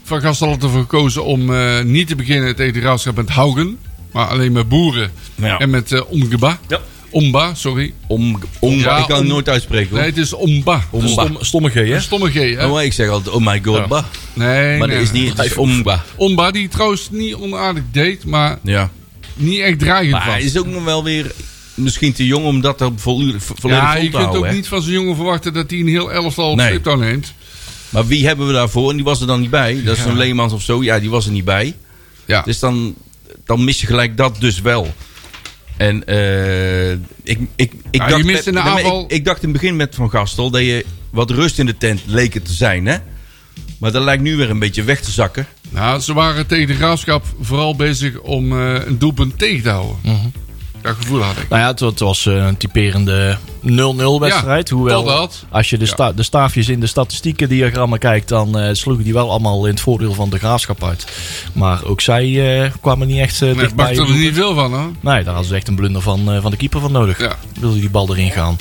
Speaker 2: Van Gastel had ervoor gekozen om eh, niet te beginnen tegen de graafschap met Haugen. maar alleen met boeren.
Speaker 3: Ja.
Speaker 2: En met eh, Omgeba.
Speaker 4: Ja.
Speaker 2: Omba, sorry.
Speaker 3: Om, om,
Speaker 2: Ja,
Speaker 3: ik kan
Speaker 2: om-
Speaker 3: het nooit uitspreken hoor.
Speaker 2: Nee, het is Omba.
Speaker 4: De
Speaker 3: Omba.
Speaker 4: stomme, stomme G, hè?
Speaker 2: Een stomme G, hè?
Speaker 3: Oh, ik zeg altijd, oh my god,
Speaker 4: Ja.
Speaker 3: bah.
Speaker 2: Nee,
Speaker 3: Maar
Speaker 2: nee.
Speaker 3: dat is niet, het eh, is omba.
Speaker 2: Omba, die trouwens niet onaardig deed, maar
Speaker 3: Ja.
Speaker 2: niet echt dreigend
Speaker 3: Maar hij
Speaker 2: was.
Speaker 3: is ook nog wel weer misschien te jong om dat dan volledig, volledig
Speaker 2: Ja,
Speaker 3: vol
Speaker 2: je
Speaker 3: te
Speaker 2: kunt ook
Speaker 3: houden. hè.
Speaker 2: niet van zo'n jongen verwachten dat hij een heel elftal op
Speaker 3: Nee.
Speaker 2: nee. neemt.
Speaker 3: Maar wie hebben we daarvoor? En die was er dan niet bij. Dat is zo'n Leemans of zo. Ja, die was er niet bij.
Speaker 2: Ja.
Speaker 3: Dus dan, dan mis je gelijk dat dus wel. En eh, ik, ik, ik,
Speaker 2: Nou, je
Speaker 3: dacht
Speaker 2: mist
Speaker 3: met-
Speaker 2: in de
Speaker 3: nee, maar
Speaker 2: aanval-
Speaker 3: ik, ik dacht in het begin met Van Gastel dat je wat rust in de tent leek het te zijn. Hè? Maar dat lijkt nu weer een beetje weg te zakken.
Speaker 2: Nou, ze waren tegen de graafschap vooral bezig om eh, een doelpunt tegen te houden. Dat gevoel had
Speaker 4: Nou
Speaker 2: ik.
Speaker 4: Mhm. ja, het, het was eh, een typerende 0-0 wedstrijd.
Speaker 2: Ja,
Speaker 4: hoewel,
Speaker 2: totdat.
Speaker 4: als je de, sta- de staafjes in de statistieken diagrammen kijkt, dan eh, sloegen die wel allemaal in het voordeel van de graafschap uit. Maar ook zij eh, kwamen niet echt eh,
Speaker 2: Nee, ik
Speaker 4: dichtbij.
Speaker 2: bakte er niet veel van, hoor.
Speaker 4: Nee, daar hadden ze echt een blunder van, eh, van de keeper van nodig.
Speaker 2: Ja.
Speaker 4: Wilde die bal erin gaan.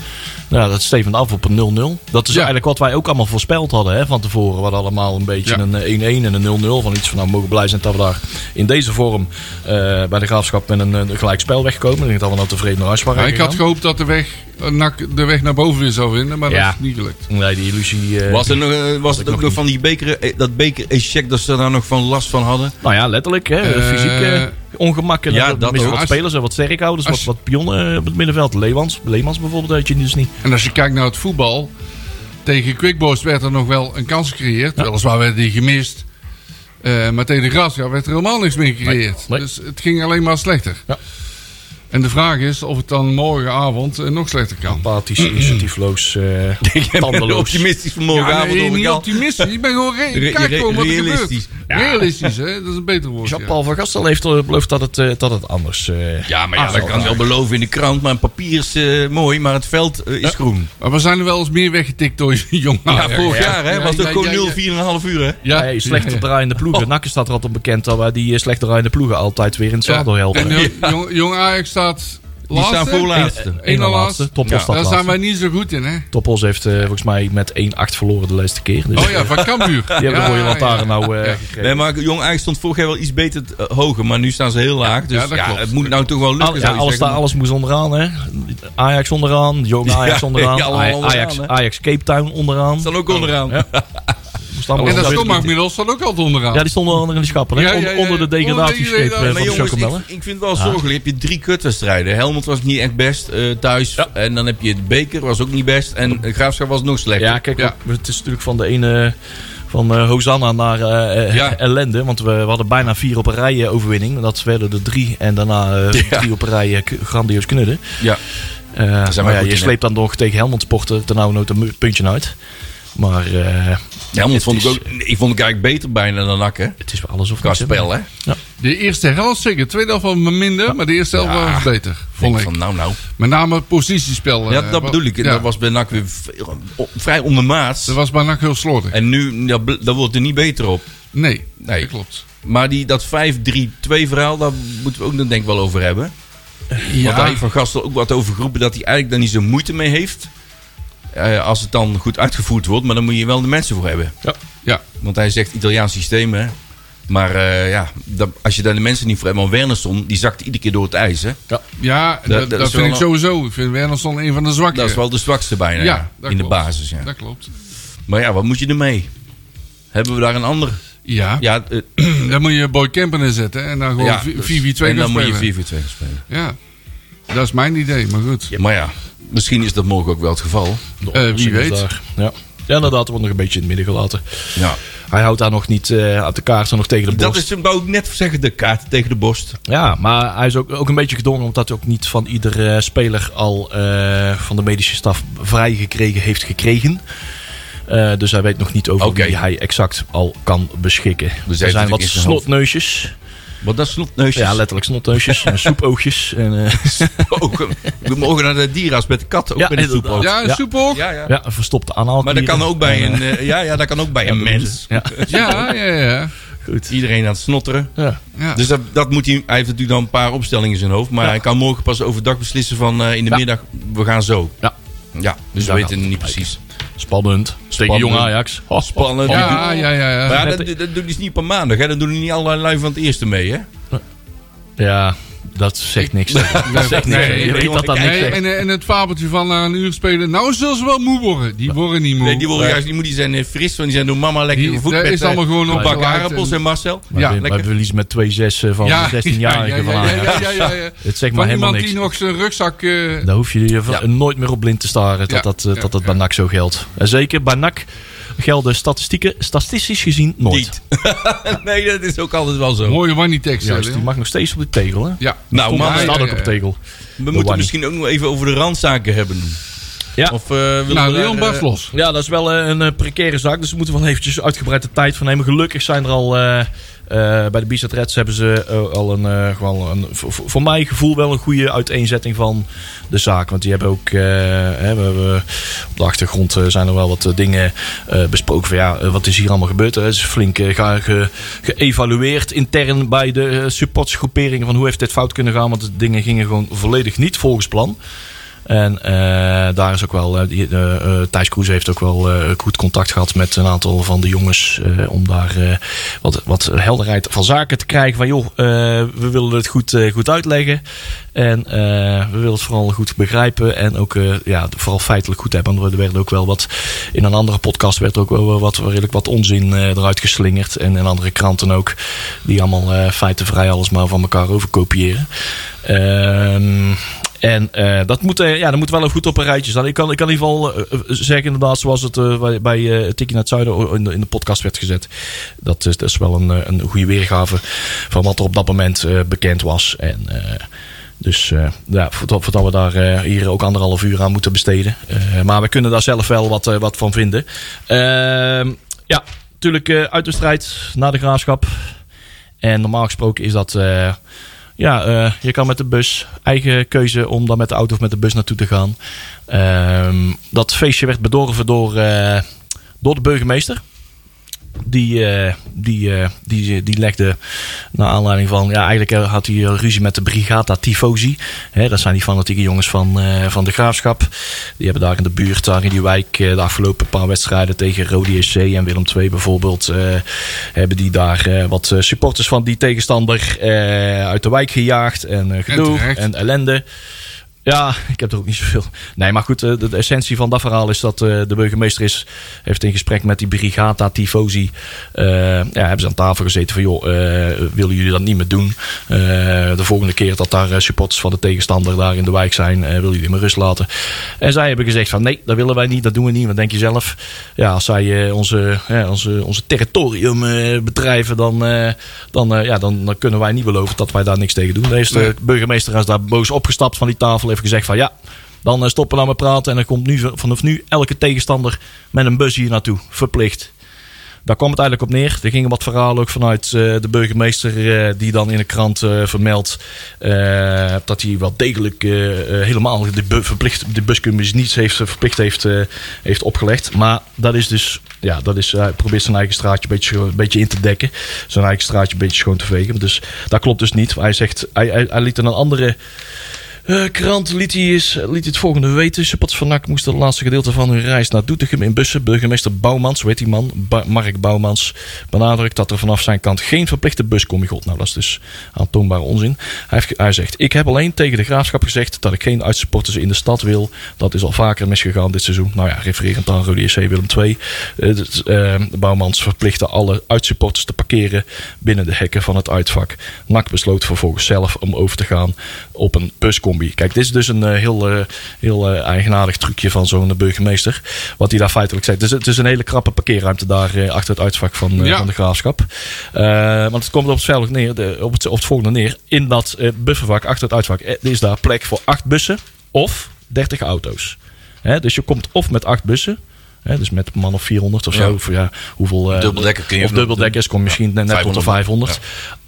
Speaker 4: Nou, dat stevend af op een 0-0. Dat is
Speaker 2: Ja.
Speaker 4: eigenlijk wat wij ook allemaal voorspeld hadden hè, van tevoren. We hadden allemaal een beetje
Speaker 2: Ja.
Speaker 4: een eh, 1-1 en een 0-0. Van iets van, nou, we mogen blij zijn dat we daar in deze vorm eh, bij de graafschap met een, een gelijk spel wegkomen. Ik denk dat we nou tevreden naar huis waren
Speaker 2: Maar ik had
Speaker 4: gegaan.
Speaker 2: gehoopt dat de weg, eh, nak- de weg naar boven weer zou vinden, maar
Speaker 4: Ja.
Speaker 2: dat is niet gelukt.
Speaker 4: Nee, die illusie... eh,
Speaker 3: Was, er nog, eh, was
Speaker 4: ik nog
Speaker 3: het ook nog
Speaker 4: niet.
Speaker 3: van die beker, eh, dat beker-echec dat ze daar nog van last van hadden?
Speaker 4: Nou ja, letterlijk. Hè,
Speaker 2: Eh,
Speaker 4: fysiek eh, ongemakken.
Speaker 3: ja,
Speaker 4: Ja,
Speaker 3: dat
Speaker 4: dat missen
Speaker 3: ook.
Speaker 4: wat
Speaker 2: Als-
Speaker 4: spelers en wat sterkhouders.
Speaker 2: als-
Speaker 4: Wat, wat pionnen eh, op het middenveld. Leemans, Leemans bijvoorbeeld had je dus niet.
Speaker 2: En als je kijkt naar het voetbal, tegen Quickboys werd er nog wel een kans gecreëerd. Weliswaar werd die gemist. Eh, maar tegen de Graafschap werd er helemaal niks meer gecreëerd.
Speaker 4: nee.
Speaker 2: Dus het ging alleen maar slechter.
Speaker 4: Ja.
Speaker 2: En de vraag is of het dan morgenavond eh, nog slechter kan.
Speaker 4: Apathisch, initiatiefloos, eh tandeloos.
Speaker 3: Optimistisch
Speaker 2: Ja,
Speaker 3: vanmorgen avond.
Speaker 2: nee,
Speaker 3: hoor ik
Speaker 2: niet
Speaker 3: al.
Speaker 2: optimistisch. Ik ben gewoon re-
Speaker 3: Re-
Speaker 2: kijk gewoon wat er gebeurt.
Speaker 3: realistisch.
Speaker 2: Realistisch, hè? Dat is een beter woord. ja.
Speaker 4: Jean-Paul van Gastel heeft eh, beloofd dat het, eh, dat het anders eh,
Speaker 3: Ja, maar ja,
Speaker 4: Ah,
Speaker 3: dat
Speaker 4: zo
Speaker 3: kan je wel beloven in de krant. Maar een papier is eh, mooi, maar het veld eh, is groen.
Speaker 2: Maar we zijn er wel eens meer weggetikt door jongen.
Speaker 3: Ja, vorig jaar hè,
Speaker 2: Ah, Ja,
Speaker 3: was het
Speaker 2: ja,
Speaker 3: ook
Speaker 2: ja, ja.
Speaker 3: gewoon 0,4,5 uur. Hè?
Speaker 2: Ja,
Speaker 4: Hey, slechter
Speaker 2: ja, Oh. ja.
Speaker 4: draaiende ploegen. Nakken staat er altijd bekend dat wij die eh, slechter draaiende ploegen altijd weer in het zadel helpen.
Speaker 2: En eh, jong, jong- jong Ajax staat
Speaker 3: Die
Speaker 2: laatste.
Speaker 3: staan voorlaatste.
Speaker 2: Eén na laatste.
Speaker 4: Topos staat
Speaker 2: Daar zijn
Speaker 4: laatste.
Speaker 2: wij niet zo goed in, hè?
Speaker 4: Topos heeft eh, volgens mij met 1-8 verloren de laatste keer. Dus
Speaker 2: Oh ja, van Cambuur.
Speaker 4: Die hebben de rode lantaarn nou eh,
Speaker 2: Ja.
Speaker 4: gekregen.
Speaker 3: Nee, maar Jong Ajax stond vorig jaar wel iets beter eh, hoger. Maar nu staan ze heel laag. Dus
Speaker 2: ja,
Speaker 3: ja,
Speaker 2: dat klopt.
Speaker 3: het moet nou toch wel
Speaker 4: Al-
Speaker 3: lukken.
Speaker 4: ja,
Speaker 3: zou je
Speaker 4: alles,
Speaker 3: zeggen.
Speaker 4: alles moest onderaan, hè? Ajax onderaan, jong Ajax
Speaker 3: Ja,
Speaker 4: onderaan,
Speaker 3: ja, allemaal
Speaker 4: Aj-
Speaker 3: onderaan,
Speaker 4: Ajax,
Speaker 3: hè?
Speaker 4: Ajax Cape Town onderaan.
Speaker 3: Staan ook onderaan. Ja,
Speaker 4: Moest allemaal
Speaker 2: En dat
Speaker 4: weer-
Speaker 2: stommaak middels staat ook altijd onderaan.
Speaker 4: Ja, die stonden onder in de schappen, hè?
Speaker 2: Ja, ja, ja,
Speaker 4: Onder-
Speaker 2: ja.
Speaker 4: onder de
Speaker 2: Onder
Speaker 4: degradatiescheep
Speaker 2: de
Speaker 4: eh,
Speaker 2: degradatie.
Speaker 4: van
Speaker 3: maar
Speaker 4: de
Speaker 3: jongens, ik, ik
Speaker 4: Chocomellen.
Speaker 3: vind het wel zorgelijk. Je hebt je drie kutwedstrijden. Helmond was niet echt best eh, thuis. En dan heb je het Beker, was ook niet best. En eh, Graafschap was nog slechter.
Speaker 4: Ja, kijk,
Speaker 2: Ja.
Speaker 4: het is natuurlijk van de ene... Van eh, Hosanna naar eh, eh,
Speaker 3: Ja.
Speaker 4: ellende. Want we, we hadden bijna vier op een rij eh, overwinning. Dat werden er drie. En daarna eh,
Speaker 3: Ja.
Speaker 4: drie op een rij eh, k- grandioos knudden.
Speaker 3: Ja.
Speaker 4: Eh,
Speaker 3: zijn
Speaker 4: maar
Speaker 3: wij
Speaker 4: ja,
Speaker 3: goed
Speaker 4: je
Speaker 3: in,
Speaker 4: sleept dan nog tegen Helmond Sporten. Ten nou nooit een mu- puntje uit. Maar eh,
Speaker 3: Helmond vond ik
Speaker 4: is-
Speaker 3: ook... Ik vond ik eigenlijk beter bijna dan Nak, hè.
Speaker 4: het is wel alles of
Speaker 3: Qua
Speaker 4: niks, hè?
Speaker 3: spel, hè.
Speaker 2: De eerste helft zeker. Tweede helft was minder, maar de eerste helft
Speaker 3: Ja.
Speaker 2: was beter.
Speaker 3: Denk
Speaker 2: Vond ik.
Speaker 3: van, nou, nou.
Speaker 2: Met name positiespel. eh,
Speaker 3: Ja, dat
Speaker 2: wat-
Speaker 3: bedoel ik.
Speaker 2: ja.
Speaker 3: Dat was bij NAC weer v- o- vrij ondermaats.
Speaker 2: Dat was bijna heel slordig.
Speaker 3: En nu, dat, bl- dat wordt er niet beter op.
Speaker 2: Nee,
Speaker 3: Nee.
Speaker 2: dat klopt.
Speaker 3: Maar die, dat 5-3-2 verhaal, daar moeten we ook nog denk ik wel over hebben. Want daar heeft Van Gastel ook wat over geroepen dat hij eigenlijk daar niet zo moeite mee heeft. Eh, als het dan goed uitgevoerd wordt, maar dan moet je wel de mensen voor hebben.
Speaker 2: Ja,
Speaker 3: Want hij zegt Italiaans systeem, hè. Maar eh, ja, dat- als je daar de mensen niet voor hebt... Want Wernersson, die zakt iedere keer door het ijs, hè.
Speaker 2: ja dat,
Speaker 3: dat
Speaker 2: dat
Speaker 3: is
Speaker 2: vind
Speaker 3: wel
Speaker 2: ik
Speaker 3: een-
Speaker 2: sowieso. Ik vind Wernersson een van de zwakken.
Speaker 3: Dat is wel de zwakste bijna, ja,
Speaker 2: Ja,
Speaker 3: in
Speaker 2: dat
Speaker 3: de
Speaker 2: klopt.
Speaker 3: basis, ja.
Speaker 2: Dat klopt.
Speaker 3: Maar ja, wat moet je ermee? Hebben we daar een ander?
Speaker 2: Ja,
Speaker 3: Ja, eh,
Speaker 2: dan moet je Boy Kemper inzetten en dan gewoon
Speaker 3: ja,
Speaker 2: 4-4-2
Speaker 3: dus-
Speaker 2: gaan
Speaker 3: En dan moet je
Speaker 2: spelen.
Speaker 3: 4-4-2 gaan spelen.
Speaker 2: Ja, dat is mijn idee, maar goed.
Speaker 3: Maar ja, misschien is dat morgen ook wel het geval.
Speaker 2: Eh, wie
Speaker 4: Sinds
Speaker 2: weet.
Speaker 4: daar. Ja. ja, inderdaad, er wordt nog een beetje in het midden gelaten.
Speaker 3: Ja.
Speaker 4: Hij houdt daar nog niet eh uit de kaart en nog tegen de borst.
Speaker 3: Dat is, wou ik net zeggen, de kaart tegen de borst.
Speaker 4: Ja, maar hij is ook, ook een beetje gedwongen omdat hij ook niet van iedere speler al eh, van de medische staf vrijgekregen heeft gekregen. Eh, dus hij weet nog niet over
Speaker 3: Oké.
Speaker 4: wie hij exact al kan
Speaker 2: Dus
Speaker 4: beschikken.
Speaker 3: heeft
Speaker 4: er zijn
Speaker 3: natuurlijk
Speaker 4: wat
Speaker 3: in zijn
Speaker 4: snotneusjes.
Speaker 3: Want dat snotneusjes.
Speaker 4: Ja, letterlijk snotneusjes. en soepoogjes. En, eh,
Speaker 3: Ogen. We mogen naar de dieras met de katten, ook
Speaker 4: Ja,
Speaker 3: met de
Speaker 4: inderdaad.
Speaker 3: soephoofd.
Speaker 2: Ja,
Speaker 4: Ja.
Speaker 2: een soepel. Ja.
Speaker 3: Ja, ja.
Speaker 4: ja, een verstopte aanhaal.
Speaker 3: Maar dat kan ook bij een, eh, ja, ja, dat kan ook bij een mens.
Speaker 4: Ja,
Speaker 2: Ja, ja, ja.
Speaker 4: goed.
Speaker 3: Iedereen aan het snotteren.
Speaker 4: Ja.
Speaker 2: Ja.
Speaker 3: Dus dat, dat moet hij, hij heeft natuurlijk dan een paar opstellingen in zijn hoofd. Maar hij kan morgen pas overdag beslissen van eh, in de
Speaker 4: Ja.
Speaker 3: middag, we gaan zo.
Speaker 4: Ja.
Speaker 3: Ja, dus
Speaker 4: Daar
Speaker 3: we
Speaker 4: gaat
Speaker 3: weten niet precies.
Speaker 4: Spannend. Tegen
Speaker 3: Spannend.
Speaker 4: jong Ajax. Oh,
Speaker 3: Spannend.
Speaker 2: ja, ja, ja, ja.
Speaker 3: dus Maar ja, dat, dat doet hij niet op een maandag. Hè. Dat doen niet allerlei lui van het eerste mee. Hè.
Speaker 4: Ja, Dat zegt niks. Dat zegt niks.
Speaker 2: nee,
Speaker 4: je weet
Speaker 3: nee,
Speaker 4: dat dat niks
Speaker 2: Nee,
Speaker 4: zegt.
Speaker 2: en, eh, en het fabeltje van na een uur spelen. Nou zullen ze wel moe worden. Die worden niet moe.
Speaker 3: Nee, die worden juist, die, moet- die zijn eh, fris, want die zijn door mama lekker
Speaker 2: Die-
Speaker 3: gevoed
Speaker 2: dat
Speaker 3: met
Speaker 2: is allemaal
Speaker 3: eh,
Speaker 2: gewoon
Speaker 3: een
Speaker 2: op
Speaker 3: bak
Speaker 2: gelijk
Speaker 3: aardappels
Speaker 2: en-
Speaker 3: en Marcel.
Speaker 4: Maar
Speaker 2: Ja,
Speaker 4: we- maar
Speaker 3: lekker.
Speaker 4: we verliezen met 2-6 van
Speaker 2: Ja,
Speaker 4: de 16-jarigen van
Speaker 2: ja, ja,
Speaker 4: Ajax.
Speaker 2: ja, ja, ja, ja.
Speaker 4: Het zegt maar helemaal
Speaker 2: Van iemand
Speaker 4: niks.
Speaker 2: die nog zijn rugzak... eh,
Speaker 4: Daar hoef je je van-
Speaker 3: Ja.
Speaker 4: nooit meer op blind te staren dat
Speaker 2: Ja,
Speaker 4: dat, eh,
Speaker 2: ja,
Speaker 4: dat, dat
Speaker 2: ja.
Speaker 4: bij NAC zo geldt. En zeker bij NAC gelden statistieken statistisch gezien nooit.
Speaker 3: Niet. nee, dat is ook altijd wel zo.
Speaker 2: Mooie wanny tekst.
Speaker 4: Juist,
Speaker 2: hè,
Speaker 4: die mag nog steeds op de tegel. Hè?
Speaker 2: Ja.
Speaker 3: Nou,
Speaker 4: Kom,
Speaker 3: maar-
Speaker 4: hij
Speaker 2: ja,
Speaker 4: staat ook
Speaker 2: ja,
Speaker 4: op de
Speaker 2: ja.
Speaker 4: tegel.
Speaker 3: We moeten
Speaker 4: Wannie.
Speaker 3: misschien ook nog even over de randzaken hebben.
Speaker 4: Ja.
Speaker 3: Of, eh, willen
Speaker 2: Nou,
Speaker 3: we daar,
Speaker 2: Leon
Speaker 3: eh,
Speaker 2: barst los.
Speaker 4: Ja, dat is wel eh, een eh, precaire zaak. Dus we moeten wel eventjes uitgebreid de tijd van nemen. Gelukkig zijn er al... eh, eh, bij de Bizet Reds hebben ze eh, al een, eh, gewoon een voor, voor voor mijn gevoel wel een goede uiteenzetting van de zaak. Want die hebben ook, eh, hè, we hebben, op de achtergrond eh, zijn er wel wat eh, dingen eh, besproken. Van, ja, eh, wat is hier allemaal gebeurd? Hè? Het is flink eh, ga- ge- geëvalueerd intern bij de eh, supportsgroeperingen van hoe heeft dit fout kunnen gaan. Want de dingen gingen gewoon volledig niet volgens plan. En eh, daar is ook wel. eh, die, eh, eh, Thijs Kroes heeft ook wel eh, goed contact gehad met een aantal van de jongens. eh, om daar eh, wat, wat helderheid van zaken te krijgen. Van joh, eh, we willen het goed, eh, goed uitleggen. En eh, we willen het vooral goed begrijpen. En ook eh, ja, vooral feitelijk goed hebben. Want er werden ook wel wat. In een andere podcast werd er ook wel wat, redelijk wat onzin eh, eruit geslingerd. En in andere kranten ook. Die allemaal eh, feitenvrij alles maar van elkaar overkopiëren. Ehm. En eh, dat, moet, eh, ja, dat moet wel even goed op een rijtje staan. Ik kan, ik kan in ieder geval eh, eh, zeggen, inderdaad, zoals het eh, bij, bij eh, Tikkie naar het Zuiden in de, in de podcast werd gezet. Dat is, dat is wel een, eh, een goede weergave van wat er op dat moment eh, bekend was. En, eh, dus eh, ja, voordat, voordat we daar eh, hier ook anderhalf uur aan moeten besteden. Eh, maar we kunnen daar zelf wel wat, eh, wat van vinden. Ehm, ja, natuurlijk eh, uit de strijd naar de graafschap. En normaal gesproken is dat. eh, ja, eh, je kan met de bus. Eigen keuze om dan met de auto of met de bus naartoe te gaan. Ehm, dat feestje werd bedorven door, eh, door de burgemeester. Die, eh, die, eh, die, die legde naar aanleiding van... Ja, eigenlijk eh, had hij ruzie met de Brigata Tifosi. Hè, dat zijn die fanatieke jongens van, eh, van de Graafschap. Die hebben daar in de buurt, daar in die wijk... eh, de afgelopen paar wedstrijden tegen Rode SC en Willem II bijvoorbeeld... eh, hebben die daar eh, wat eh, supporters van die tegenstander... eh, uit de wijk gejaagd en eh, gedoe en,
Speaker 2: terecht.
Speaker 4: ellende. Ja, ik heb er ook niet zoveel... Nee, maar goed, eh, de, de essentie van dat verhaal is dat eh, de burgemeester is, heeft in gesprek met die Brigata Tifosi... eh, ja, hebben ze aan tafel gezeten van, joh, eh, willen jullie dat niet meer doen? Eh, de volgende keer dat daar eh, supporters van de tegenstander daar in de wijk zijn, eh, willen jullie me rust laten? En zij hebben gezegd van, nee, dat willen wij niet, dat doen we niet. Wat denk je zelf? Ja, als zij eh, onze, ja, onze, onze territorium eh, bedrijven, dan, eh, dan, eh, ja, dan, dan kunnen wij niet beloven dat wij daar niks tegen doen. Deze
Speaker 2: Nee.
Speaker 4: burgemeester is daar boos opgestapt van die tafel, heeft gezegd van, ja... Dan eh, stoppen we nou met praten en dan komt nu v- vanaf nu elke tegenstander met een bus hier naartoe. Verplicht. Daar kwam het eigenlijk op neer. Er gingen wat verhalen ook vanuit eh, de burgemeester, eh, die dan in de krant eh, vermeldt eh, dat hij wel degelijk eh, eh, helemaal de, bu- verplicht, de buscommissie niets heeft, verplicht heeft, eh, heeft opgelegd. Maar dat is dus, ja, dat is, hij probeert zijn eigen straatje een beetje, een beetje in te dekken. Zijn eigen straatje een beetje schoon te vegen. Dus dat klopt dus niet. Hij zegt, hij, hij, hij liet in een andere eh, krant liet hij, eens, liet hij het volgende weten. Supporters van NAC moesten het laatste gedeelte van hun reis naar Doetinchem in bussen. Burgemeester Bouwmans, weet die man, Ba- Mark Bouwmans, benadrukt dat er vanaf zijn kant geen verplichte bus komt. God, nou dat is dus aantoonbare onzin. Hij, heeft, ge- hij zegt, ik heb alleen tegen de graafschap gezegd dat ik geen uitsupporters in de stad wil. Dat is al vaker misgegaan dit seizoen. Nou ja, refererend aan Rode SC Willem II. Eh, dat, eh, Bouwmans verplichtte alle uitsupporters te parkeren binnen de hekken van het uitvak. NAC besloot vervolgens zelf om over te gaan op een buscombi. Kijk, dit is dus een eh, heel, eh, heel eh, eigenaardig trucje van zo'n burgemeester. Wat hij daar feitelijk zegt. Dus het is een hele krappe parkeerruimte daar eh, achter het uitvak van, eh,
Speaker 2: Ja.
Speaker 4: van de graafschap. Eh, want het komt op het, veilig neer, de- op het, op het volgende neer. In dat eh, buffervak, achter het uitvak, eh, is daar plek voor acht bussen of 30 auto's. Hè, dus je komt of met acht bussen. hè, dus met een man of 400 of zo.
Speaker 3: Ja.
Speaker 4: Of, ja, hoeveel, eh,
Speaker 3: Dubbeldekker kun je
Speaker 4: of
Speaker 3: nog doen.
Speaker 4: dubbeldekkers kom je misschien net tot de
Speaker 3: 500.
Speaker 4: 500.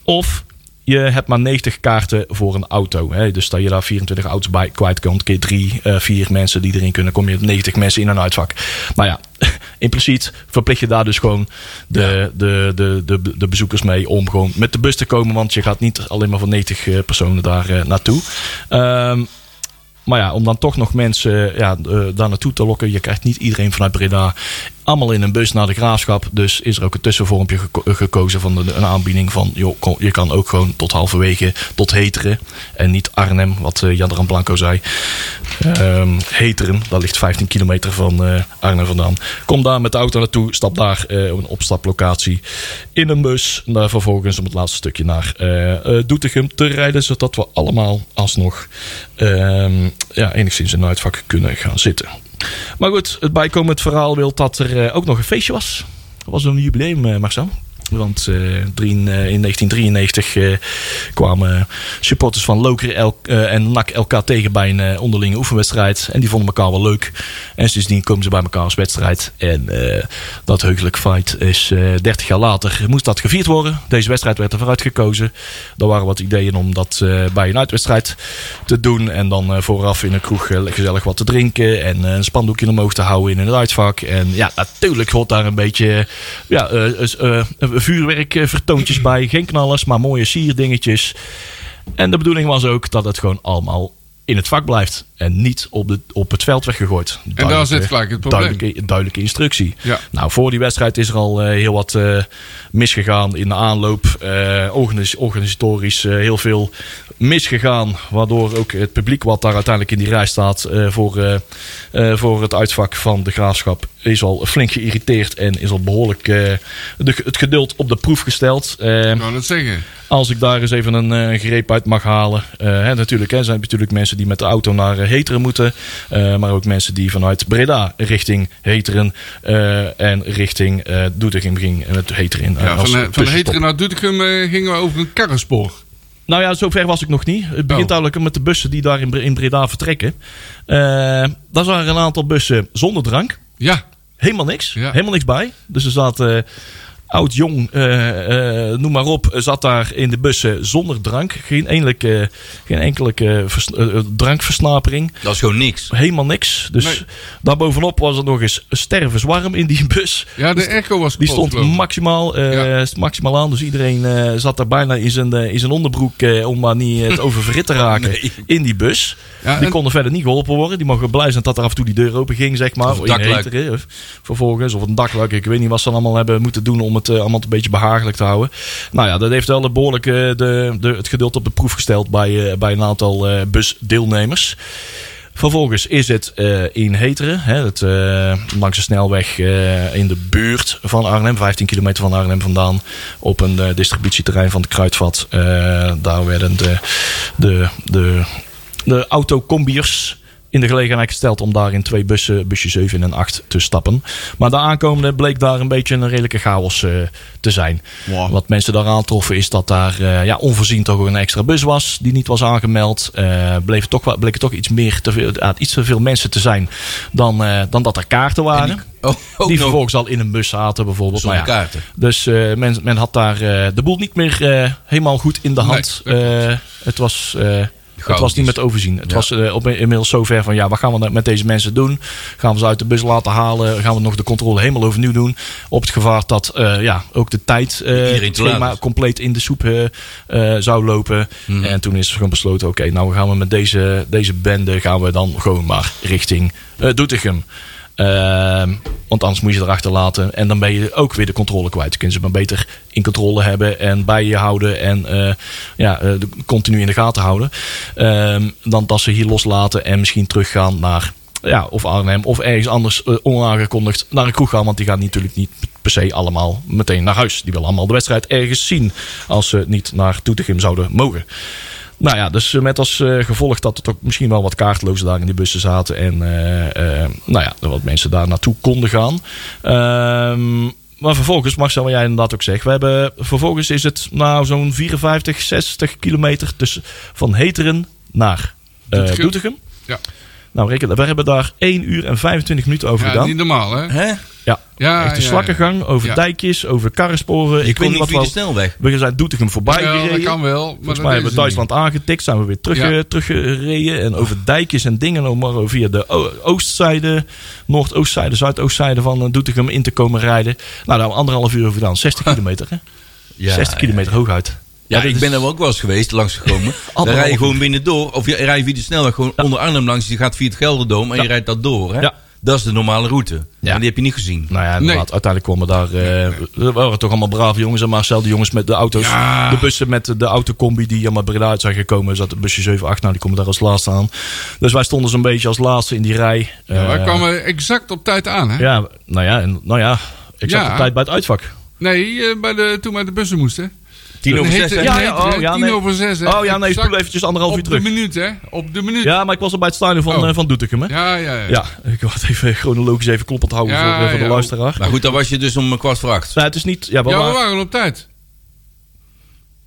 Speaker 4: Of je hebt maar 90 kaarten voor een auto. Hè? Dus dat je daar 24 auto's bij kwijt komt. Keer drie, eh, vier mensen die erin kunnen. Kom je op 90 mensen in een uitvak. Nou ja, impliciet verplicht je daar dus gewoon de, de, de, de, de bezoekers mee om gewoon met de bus te komen. Want je gaat niet alleen maar voor 90 eh, personen daar eh, naartoe. Ehm, maar ja, om dan toch nog mensen ja, eh, daar naartoe te lokken. Je krijgt niet iedereen vanuit Breda Allemaal in een bus naar de graafschap. Dus is er ook een tussenvormpje geko- eh, gekozen van de, een aanbieding van... Joh, kom, je kan ook gewoon tot halverwege tot Heteren. En niet Arnhem, wat eh, Jan Blanco zei. Ehm, Heteren, dat ligt 15 kilometer van eh, Arnhem vandaan. Kom daar met de auto naartoe. Stap daar eh, op een opstaplocatie in een bus. En daar vervolgens om het laatste stukje naar eh, eh, Doetinchem te rijden. Zodat we allemaal alsnog ehm, ja, enigszins in een uitvak kunnen gaan zitten. Maar goed, het bijkomend verhaal wil dat er eh, ook nog een feestje was. Er was een jubileum, eh, Marcel. Want eh, drie- eh, in 1993 eh, kwamen supporters van Loker el- eh, en NAC elkaar tegen bij een eh, onderlinge oefenwedstrijd. En die vonden elkaar wel leuk. En sindsdien komen ze bij elkaar als wedstrijd. En eh, dat heugelijk feit is eh 30 jaar later moest dat gevierd worden. Deze wedstrijd werd ervoor uitgekozen. Er waren wat ideeën om dat eh, bij een uitwedstrijd te doen. En dan eh, vooraf in een kroeg eh, gezellig wat te drinken. En eh, een spandoekje omhoog te houden in het uitvak. En ja, natuurlijk hoort daar een beetje eh, ja, eh, eh, eh, vuurwerkvertoontjes bij. Geen knallers, maar mooie sierdingetjes. En de bedoeling was ook dat het gewoon allemaal in het vak blijft. En niet op, de, op het veld weggegooid.
Speaker 2: daar
Speaker 4: Duidelijke-
Speaker 2: zit gelijk het probleem.
Speaker 4: Duidelijke, duidelijke instructie.
Speaker 2: Ja.
Speaker 4: Nou, voor die wedstrijd is er al eh, heel wat eh, misgegaan in de aanloop. Eh, organis- organisatorisch eh, heel veel misgegaan. Waardoor ook het publiek wat daar uiteindelijk in die rij staat eh, voor, eh, eh, voor het uitvak van de graafschap is al flink geïrriteerd en is al behoorlijk eh, de, het geduld op de proef gesteld. Eh,
Speaker 2: Ik wou dat zeggen.
Speaker 4: als ik daar eens even een eh, greep uit mag halen. Eh, hè, natuurlijk, hè, zijn er natuurlijk mensen die met de auto naar eh, Heteren moeten. eh, maar ook mensen die vanuit Breda richting Heteren eh, en richting eh Doetinchem ging. En het Heteren. in.
Speaker 2: Ja, van, eh, van
Speaker 4: tussenstop.
Speaker 2: Heteren naar Doetinchem eh, gingen we over een karrenspoor.
Speaker 4: Nou ja, zover was ik nog niet. Het begint
Speaker 2: Oh.
Speaker 4: eigenlijk met de bussen die daar in, Bre- in Breda vertrekken. Eh daar waren een aantal bussen zonder drank.
Speaker 2: Ja,
Speaker 4: Helemaal niks.
Speaker 2: Ja.
Speaker 4: Helemaal niks bij. Dus er zat eh, oud, jong, eh, eh, noem maar op, zat daar in de bussen zonder drank. Geen, enkele, geen enkele eh, vers- eh, eh, drankversnapering.
Speaker 3: eh, Dat is gewoon niks.
Speaker 4: Helemaal niks. Dus
Speaker 2: Nee.
Speaker 4: daarbovenop was er nog eens stervenswarm in die bus.
Speaker 2: ja de echo was
Speaker 4: Die
Speaker 2: kapot,
Speaker 4: stond
Speaker 2: geloof ik.
Speaker 4: maximaal, eh,
Speaker 2: Ja.
Speaker 4: st- maximaal aan. Dus iedereen eh, zat daar bijna in zijn, eh, in zijn onderbroek. eh, om maar niet eh, het over verhit te raken. in die bus.
Speaker 2: Ja,
Speaker 4: die
Speaker 2: en-
Speaker 4: konden verder niet geholpen worden. Die mogen blij zijn dat er af en toe die deur open ging, zeg maar.
Speaker 3: Of
Speaker 4: in
Speaker 3: dakluik.
Speaker 4: Heteren, of vervolgens. Of een dakluik. Ik weet niet wat ze dan allemaal hebben moeten doen. om het eh, allemaal een beetje behagelijk te houden. Nou ja, dat heeft wel een behoorlijk eh, de, de, het geduld op de proef gesteld. bij, eh, bij een aantal eh, busdeelnemers. Vervolgens is het eh, in Heteren, hè, het, eh, langs de snelweg eh, in de buurt van Arnhem, 15 kilometer van Arnhem vandaan, op een eh, distributieterrein van het Kruidvat. Eh, daar werden de, de, de, de autocombiers in de gelegenheid gesteld om daar in twee bussen, busje 7 en 8, te stappen. Maar de aankomende bleek daar een beetje een redelijke chaos eh, te zijn.
Speaker 2: Wow.
Speaker 4: Wat mensen daar aantroffen is dat daar eh, ja, onvoorzien toch ook een extra bus was die niet was aangemeld. Eh bleef toch, wel- bleek er toch iets, meer te veel, ah, iets te veel mensen te zijn dan, eh, dan dat er kaarten waren.
Speaker 3: Oh, ook
Speaker 4: Die
Speaker 3: nog.
Speaker 4: vervolgens al in een bus zaten bijvoorbeeld.
Speaker 3: Zonder
Speaker 4: Maar ja,
Speaker 3: kaarten.
Speaker 4: Dus eh, men, men had daar eh, de boel niet meer eh, helemaal goed in de hand.
Speaker 2: Nee, dat
Speaker 4: Eh, het, was, eh, het was
Speaker 3: Chaotisch.
Speaker 4: niet met overzien. Het
Speaker 3: Ja.
Speaker 4: was eh, op, inmiddels zover van ja, wat gaan we nou met deze mensen doen? Gaan we ze uit de bus laten halen? Gaan we nog de controle helemaal overnieuw doen? Op het gevaar dat eh, ja, ook de tijd eh,
Speaker 3: Iedereen te
Speaker 4: het schema
Speaker 3: laat is.
Speaker 4: compleet in de soep eh, eh, zou lopen. En toen is er gewoon besloten, oké, nou gaan we met deze, deze bende gaan we dan gewoon maar richting eh Doetinchem. Ehm, want anders moet je ze erachter laten. En dan ben je ook weer de controle kwijt. Dan kunnen ze maar beter in controle hebben en bij je houden. En eh, ja, eh, de- continu in de gaten houden. Ehm, dan dat ze hier loslaten en misschien teruggaan naar ja, of Arnhem of ergens anders eh, onaangekondigd naar een kroeg gaan. Want die gaan natuurlijk niet per se allemaal meteen naar huis. Die willen allemaal de wedstrijd ergens zien. Als ze niet naar Doetinchem zouden mogen. Nou ja, dus eh, met als eh, gevolg dat er toch misschien wel wat kaartlozen daar in die bussen zaten. En eh, eh, nou ja, er wat mensen daar naartoe konden gaan. Ehm, maar vervolgens, Marcel, wat jij inderdaad ook zegt. We hebben, vervolgens is het nou zo'n 54, 60 kilometer tussen, van Heteren naar eh,
Speaker 2: Doetinchem.
Speaker 4: Doetinchem.
Speaker 2: Ja.
Speaker 4: Nou, reken, we hebben daar 1 uur en 25 minuten over
Speaker 2: Ja,
Speaker 4: gedaan.
Speaker 2: niet normaal, hè?
Speaker 3: Hè?
Speaker 4: Ja,
Speaker 2: Ja,
Speaker 4: echt een
Speaker 2: ja,
Speaker 4: slakke
Speaker 2: ja.
Speaker 4: gang over
Speaker 2: Ja.
Speaker 4: dijkjes, over karrensporen.
Speaker 3: Ik
Speaker 4: kon
Speaker 3: weet niet
Speaker 4: wat
Speaker 3: via de
Speaker 4: wel-
Speaker 3: snelweg.
Speaker 4: We zijn Doetinchem voorbij
Speaker 2: Jawel, dat
Speaker 4: gereden.
Speaker 2: kan wel. Maar
Speaker 4: Volgens mij hebben we Duitsland aangetikt, zijn we weer terug,
Speaker 2: Ja.
Speaker 4: eh, teruggereden. En over dijkjes en dingen om maar via de o- oostzijde, noordoostzijde, zuidoostzijde van eh, Doetinchem in te komen rijden. Nou, daar hebben we anderhalf uur over gedaan. 60 kilometer, hè?
Speaker 3: Ja,
Speaker 4: 60 kilometer hooguit.
Speaker 3: Ja,
Speaker 4: dit
Speaker 3: ik
Speaker 4: is-
Speaker 3: ben er ook wel eens geweest, langsgekomen. Dan
Speaker 4: Anderhalf
Speaker 3: rij je gewoon
Speaker 4: uur.
Speaker 3: binnen door. Of je rij je via de snelweg gewoon onder Arnhem langs. Je gaat via het Gelderdoom en je rijdt dat door. Hè?
Speaker 4: Ja.
Speaker 3: Dat is de normale route.
Speaker 4: Ja.
Speaker 3: En die heb je niet gezien.
Speaker 4: Nou ja, inderdaad.
Speaker 2: Nee.
Speaker 4: Uiteindelijk kwamen daar. eh, er waren toch allemaal brave jongens. En Marcel, de jongens met de auto's.
Speaker 2: Ja.
Speaker 4: De bussen met de autocombi die allemaal Breda uit zijn gekomen. Zat een busje 7, 8. Nou, die komen daar als laatste aan. Dus wij stonden zo'n beetje als laatste in die rij.
Speaker 2: Ja, wij
Speaker 4: Eh,
Speaker 2: kwamen exact op tijd aan, hè?
Speaker 4: ja, nou ja, en, nou ja. Ik zat
Speaker 2: Ja.
Speaker 4: op tijd bij het uitvak.
Speaker 2: Nee, eh, bij de, toen wij de bussen moesten.
Speaker 3: Tien over
Speaker 2: Heette-
Speaker 3: zes. hè?
Speaker 4: ja,
Speaker 2: Ja, heette,
Speaker 4: oh,
Speaker 2: hè?
Speaker 4: ja,
Speaker 2: Tien
Speaker 4: nee.
Speaker 2: over zes, hè?
Speaker 4: Oh ja, nee,
Speaker 2: Exact
Speaker 4: spoel eventjes anderhalf uur
Speaker 2: Op de
Speaker 4: terug.
Speaker 2: minuut, hè? Op de minuut.
Speaker 4: Ja, maar ik was al bij het stadion van,
Speaker 2: Oh.
Speaker 4: eh, van Doetinchem. hè?
Speaker 2: ja, ja. ja.
Speaker 4: Ja, ik wou het even chronologisch even kloppend houden
Speaker 2: Ja,
Speaker 4: voor, eh, voor de
Speaker 2: ja.
Speaker 4: luisteraar.
Speaker 3: Maar goed, dan was je dus om eh, kwart voor acht.
Speaker 4: Nou, het is niet... Ja, waar,
Speaker 2: Ja, we
Speaker 4: waar,
Speaker 2: waren op tijd.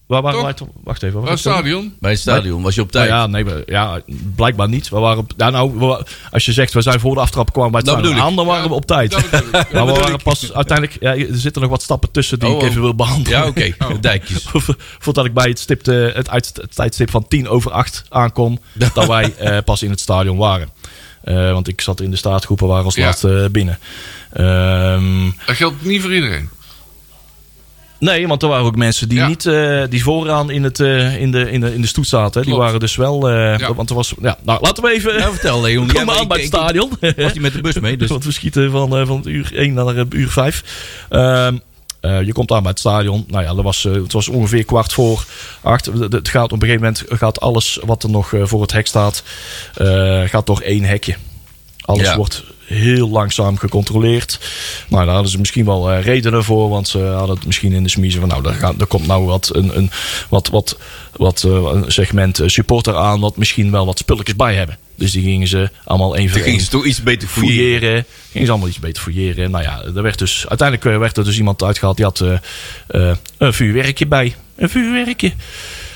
Speaker 4: waar waren
Speaker 2: toch?
Speaker 4: wij toch- Wacht even.
Speaker 2: Bij het
Speaker 4: was het?
Speaker 2: stadion.
Speaker 3: Bij het stadion was je op
Speaker 4: Nou
Speaker 3: tijd.
Speaker 4: ja, nee, we- ja, blijkbaar niet. We waren op, ja, nou, we- als je zegt, we zijn voor de aftrap kwamen bij het
Speaker 3: Dat
Speaker 4: stadion
Speaker 3: bedoel
Speaker 4: aan, dan waren we op tijd.
Speaker 2: Dat bedoel ik. Ja.
Speaker 4: maar we waren pas uiteindelijk... Ja, er zitten nog wat stappen tussen die
Speaker 3: Oh,
Speaker 4: ik even
Speaker 3: oh.
Speaker 4: wil behandelen.
Speaker 3: Ja, oké. De Dijkjes.
Speaker 4: Voordat ik bij het, stipte, het, uit, het tijdstip van 10 over 8 aankom, dat wij eh, pas in het stadion waren. Eh, want ik zat in de staartgroepen, waren als
Speaker 2: Ja.
Speaker 4: laatste eh, binnen. Ehm
Speaker 2: Dat geldt niet voor iedereen.
Speaker 4: Nee, want er waren ook mensen die
Speaker 2: Ja.
Speaker 4: niet eh, die vooraan in, het, eh, in, de, in, de, in de stoet zaten. hè. Die
Speaker 2: Klopt.
Speaker 4: waren dus wel. eh,
Speaker 2: Ja.
Speaker 4: Want er was. Ja, nou, laten we even.
Speaker 3: Nou, vertel Leon. Ja,
Speaker 4: komen
Speaker 3: maar
Speaker 4: aan
Speaker 3: ik-
Speaker 4: bij het
Speaker 3: ik-
Speaker 4: stadion.
Speaker 3: Was hij met de bus mee? Dus
Speaker 4: Want we schieten van, eh, van uur 1 naar eh, uur 5. Ehm, eh, je komt aan bij het stadion. Nou ja, dat was, eh, het was ongeveer kwart voor acht. Het- Het gaat op een gegeven moment gaat alles wat er nog eh, voor het hek staat, eh, gaat door één hekje. Alles
Speaker 3: Ja.
Speaker 4: wordt heel langzaam gecontroleerd. Nou, daar hadden ze misschien wel eh, redenen voor. Want ze hadden het misschien in de smiezen van... nou, daar, gaat, daar komt nou wat, een, een, wat, wat, wat eh, een segment eh, supporter aan... wat misschien wel wat spulletjes bij hebben. Dus die gingen ze allemaal één voor
Speaker 3: toen
Speaker 4: één
Speaker 3: ging ze toch iets beter fouilleren.
Speaker 4: fouilleren. Ging ze allemaal iets beter fouilleren. Nou ja, er werd dus, uiteindelijk eh, werd er dus iemand uitgehaald. Die had eh, eh, een vuurwerkje bij. Een vuurwerkje.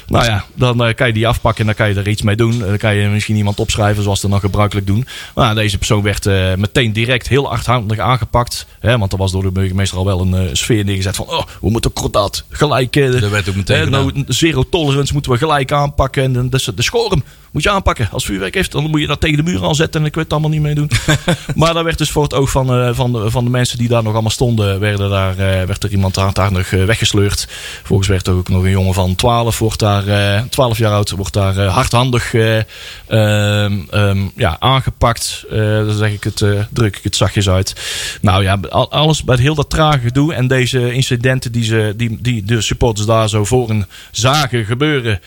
Speaker 4: Nou ja, dan eh, kan je die afpakken en dan kan je er iets mee doen. En dan kan je misschien iemand opschrijven zoals ze dan gebruikelijk doen. Maar nou, deze persoon werd eh, meteen direct heel hardhandig aangepakt. Hè, want er was door de burgemeester al wel een eh, sfeer neergezet van... Oh, we moeten kordaat gelijk... eh,
Speaker 3: Dat werd ook meteen
Speaker 4: hè,
Speaker 3: gedaan.
Speaker 4: nou, zero tolerance moeten we gelijk aanpakken. En dan- dus de schorum moet je aanpakken. Als vuurwerk heeft, dan moet je dat tegen de muur aanzetten. En ik weet het allemaal niet mee doen. maar daar werd dus voor het oog van, eh, van, de, van de mensen die daar nog allemaal stonden... Werden daar, eh, werd er iemand hardhandig eh, weggesleurd. Volgens werd er ook nog een jongen van 12, wordt daar, eh 12 jaar oud... wordt daar eh, hardhandig eh, ehm, ehm, ja, aangepakt. Eh, dan zeg ik het, eh, druk ik het zachtjes uit. Nou ja, al- alles bij heel dat trage gedoe... en deze incidenten die, ze, die, die de supporters daar zo voor een zagen gebeuren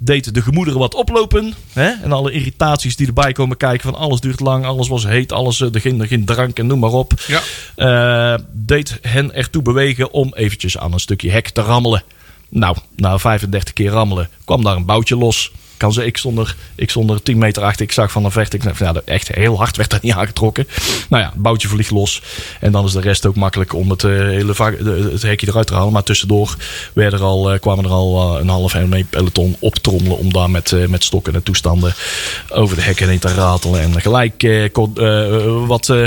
Speaker 4: deed de gemoederen wat oplopen. Hè? En alle irritaties die erbij komen kijken. Van alles duurt lang, alles was heet, alles, eh, er, ging, er ging drank en noem maar op.
Speaker 2: Ja.
Speaker 4: Eh, deed hen ertoe bewegen om eventjes aan een stukje hek te rammelen. Nou, na 35 keer rammelen kwam daar een boutje los. Kan ze, ik, stond er, ik stond er 10 meter achter. Ik zag van de vecht. Ik dacht, van, ja, dat- echt heel hard werd dat niet aangetrokken. Nou ja, het boutje vliegt los. En dan is de rest ook makkelijk om het eh, hele va- de- het hekje eruit te halen. Maar tussendoor werden er al, eh, kwamen er al eh, een half en een peloton optrommelen. Om daar met, eh, met stokken en toestanden over de hekken heen te ratelen. En gelijk eh, kon- eh, eh, wat. eh,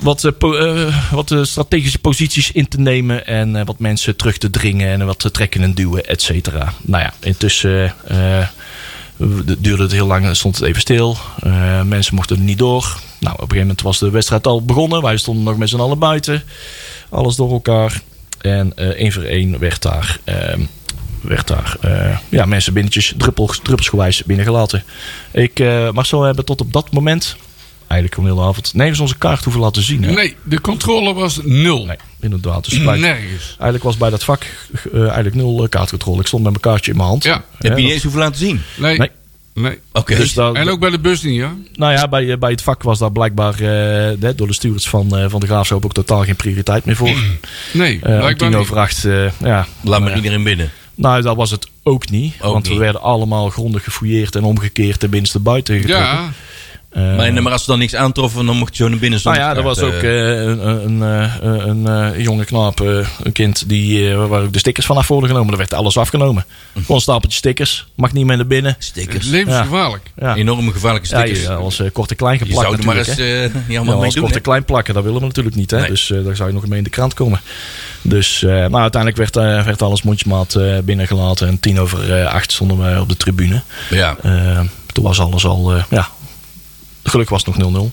Speaker 4: wat, eh, po- eh, wat eh, strategische posities in te nemen en eh, wat mensen terug te dringen en wat te trekken en duwen, et cetera. Nou ja, intussen eh, eh, d- duurde het heel lang en stond het even stil. Eh, mensen mochten er niet door. Nou, op een gegeven moment was de wedstrijd al begonnen. Wij stonden nog met z'n allen buiten. Alles door elkaar. En eh, één voor één werd daar, eh, werd daar eh, ja, mensen binnetjes druppels, druppelsgewijs binnengelaten. Ik, eh Marcel, we hebben tot op dat moment... Eigenlijk een hele avond. Nee, we onze kaart hoeven laten zien. hè?
Speaker 2: Nee, de controle was nul.
Speaker 4: Nee, inderdaad. Dus bij-
Speaker 2: Nergens.
Speaker 4: eigenlijk was bij dat vak eh, eigenlijk nul eh, kaartcontrole. Ik stond met mijn kaartje in mijn hand.
Speaker 2: Ja.
Speaker 3: Heb je niet
Speaker 4: dat-
Speaker 3: eens hoeven laten zien.
Speaker 4: Nee.
Speaker 2: Nee. nee.
Speaker 3: Oké.
Speaker 4: Dus dat,
Speaker 2: En ook bij de bus niet, ja?
Speaker 4: nou ja, bij, eh, bij het vak was daar blijkbaar eh, hè, door de stewards van, eh, van de Graafschap ook totaal geen prioriteit meer voor.
Speaker 3: Mm. Nou,
Speaker 2: Nee,
Speaker 4: Eh, om
Speaker 2: blijkbaar
Speaker 4: tien
Speaker 2: niet.
Speaker 4: over acht, eh, ja.
Speaker 3: Laat
Speaker 4: Nou
Speaker 3: maar
Speaker 4: ja.
Speaker 3: iedereen binnen.
Speaker 4: Nou, dat was het ook niet.
Speaker 3: Ook
Speaker 4: want we
Speaker 3: niet.
Speaker 4: werden allemaal grondig gefouilleerd en omgekeerd en binnenste buiten getrokken.
Speaker 2: Ja,
Speaker 4: Eh,
Speaker 3: Maar, maar als ze dan niks aantroffen, dan mocht je zo naar binnen
Speaker 4: Nou
Speaker 3: zonder
Speaker 4: ja, er
Speaker 3: kaart,
Speaker 4: was ook
Speaker 3: eh.
Speaker 4: eh, een, een, eh, een, eh, jonge knaap, eh, een kind, die, eh, waar ook de stickers vanaf worden genomen. Er werd alles afgenomen.
Speaker 3: Hm.
Speaker 4: Gewoon een stapeltje stickers. Mag niet meer naar binnen.
Speaker 3: Stickers.
Speaker 2: levensgevaarlijk.
Speaker 4: Ja,
Speaker 3: Enorme gevaarlijke
Speaker 4: ja
Speaker 3: stickers.
Speaker 4: je als eh, kort en klein
Speaker 3: je
Speaker 4: geplakt
Speaker 3: zou er maar
Speaker 4: natuurlijk,
Speaker 3: eens
Speaker 4: hè.
Speaker 3: eh, niet
Speaker 4: Ja,
Speaker 3: allemaal
Speaker 4: maar
Speaker 3: mee
Speaker 4: als
Speaker 3: doen.
Speaker 4: kort
Speaker 3: hè?
Speaker 4: en klein plakken, dat willen we natuurlijk niet. Hè?
Speaker 3: Nee.
Speaker 4: Dus eh, daar zou je nog mee in de krant komen. Dus eh, nou, uiteindelijk werd, eh, werd alles mondjesmaat eh, binnengelaten. En tien over eh, acht stonden we op de tribune.
Speaker 3: Ja,
Speaker 4: Eh, toen was alles al... eh, ja, geluk was het nog 0-0.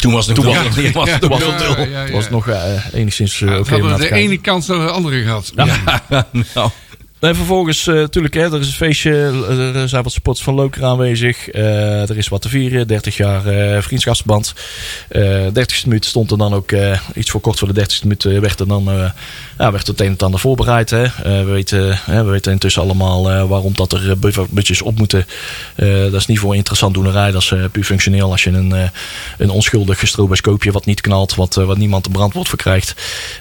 Speaker 3: toen was het nog
Speaker 4: Toen
Speaker 3: nul.
Speaker 4: was het-
Speaker 3: Ja, was het
Speaker 2: ja,
Speaker 3: nog
Speaker 2: ja,
Speaker 3: nul.
Speaker 2: ja, ja.
Speaker 4: was het nog eh, enigszins eh,
Speaker 2: Dat
Speaker 4: oké om
Speaker 2: hadden
Speaker 4: naar
Speaker 2: we
Speaker 4: te
Speaker 2: de
Speaker 4: kijken.
Speaker 2: ene kans naar de andere gehad. Ja.
Speaker 3: Ja, nou,
Speaker 4: En vervolgens, eh, natuurlijk, hè, er is een feestje. Er zijn wat spots van Loker aanwezig. eh, er is wat te vieren. 30 jaar eh, vriendschapsband. Eh 30ste minuut stond er dan ook eh, iets voor kort voor de 30ste minuut. eh, werd er dan eh, ja, werd het een en het ander voorbereid. Hè. Eh, we, weten, hè, we weten intussen allemaal eh, waarom dat er eh, buffer- budgetjes op moeten. Eh, dat is niet voor interessant doenerij. Dat is eh, puur functioneel. Als je een, eh, een onschuldig stroboscoopje wat niet knalt, wat, eh, wat niemand de brandwoord voor krijgt.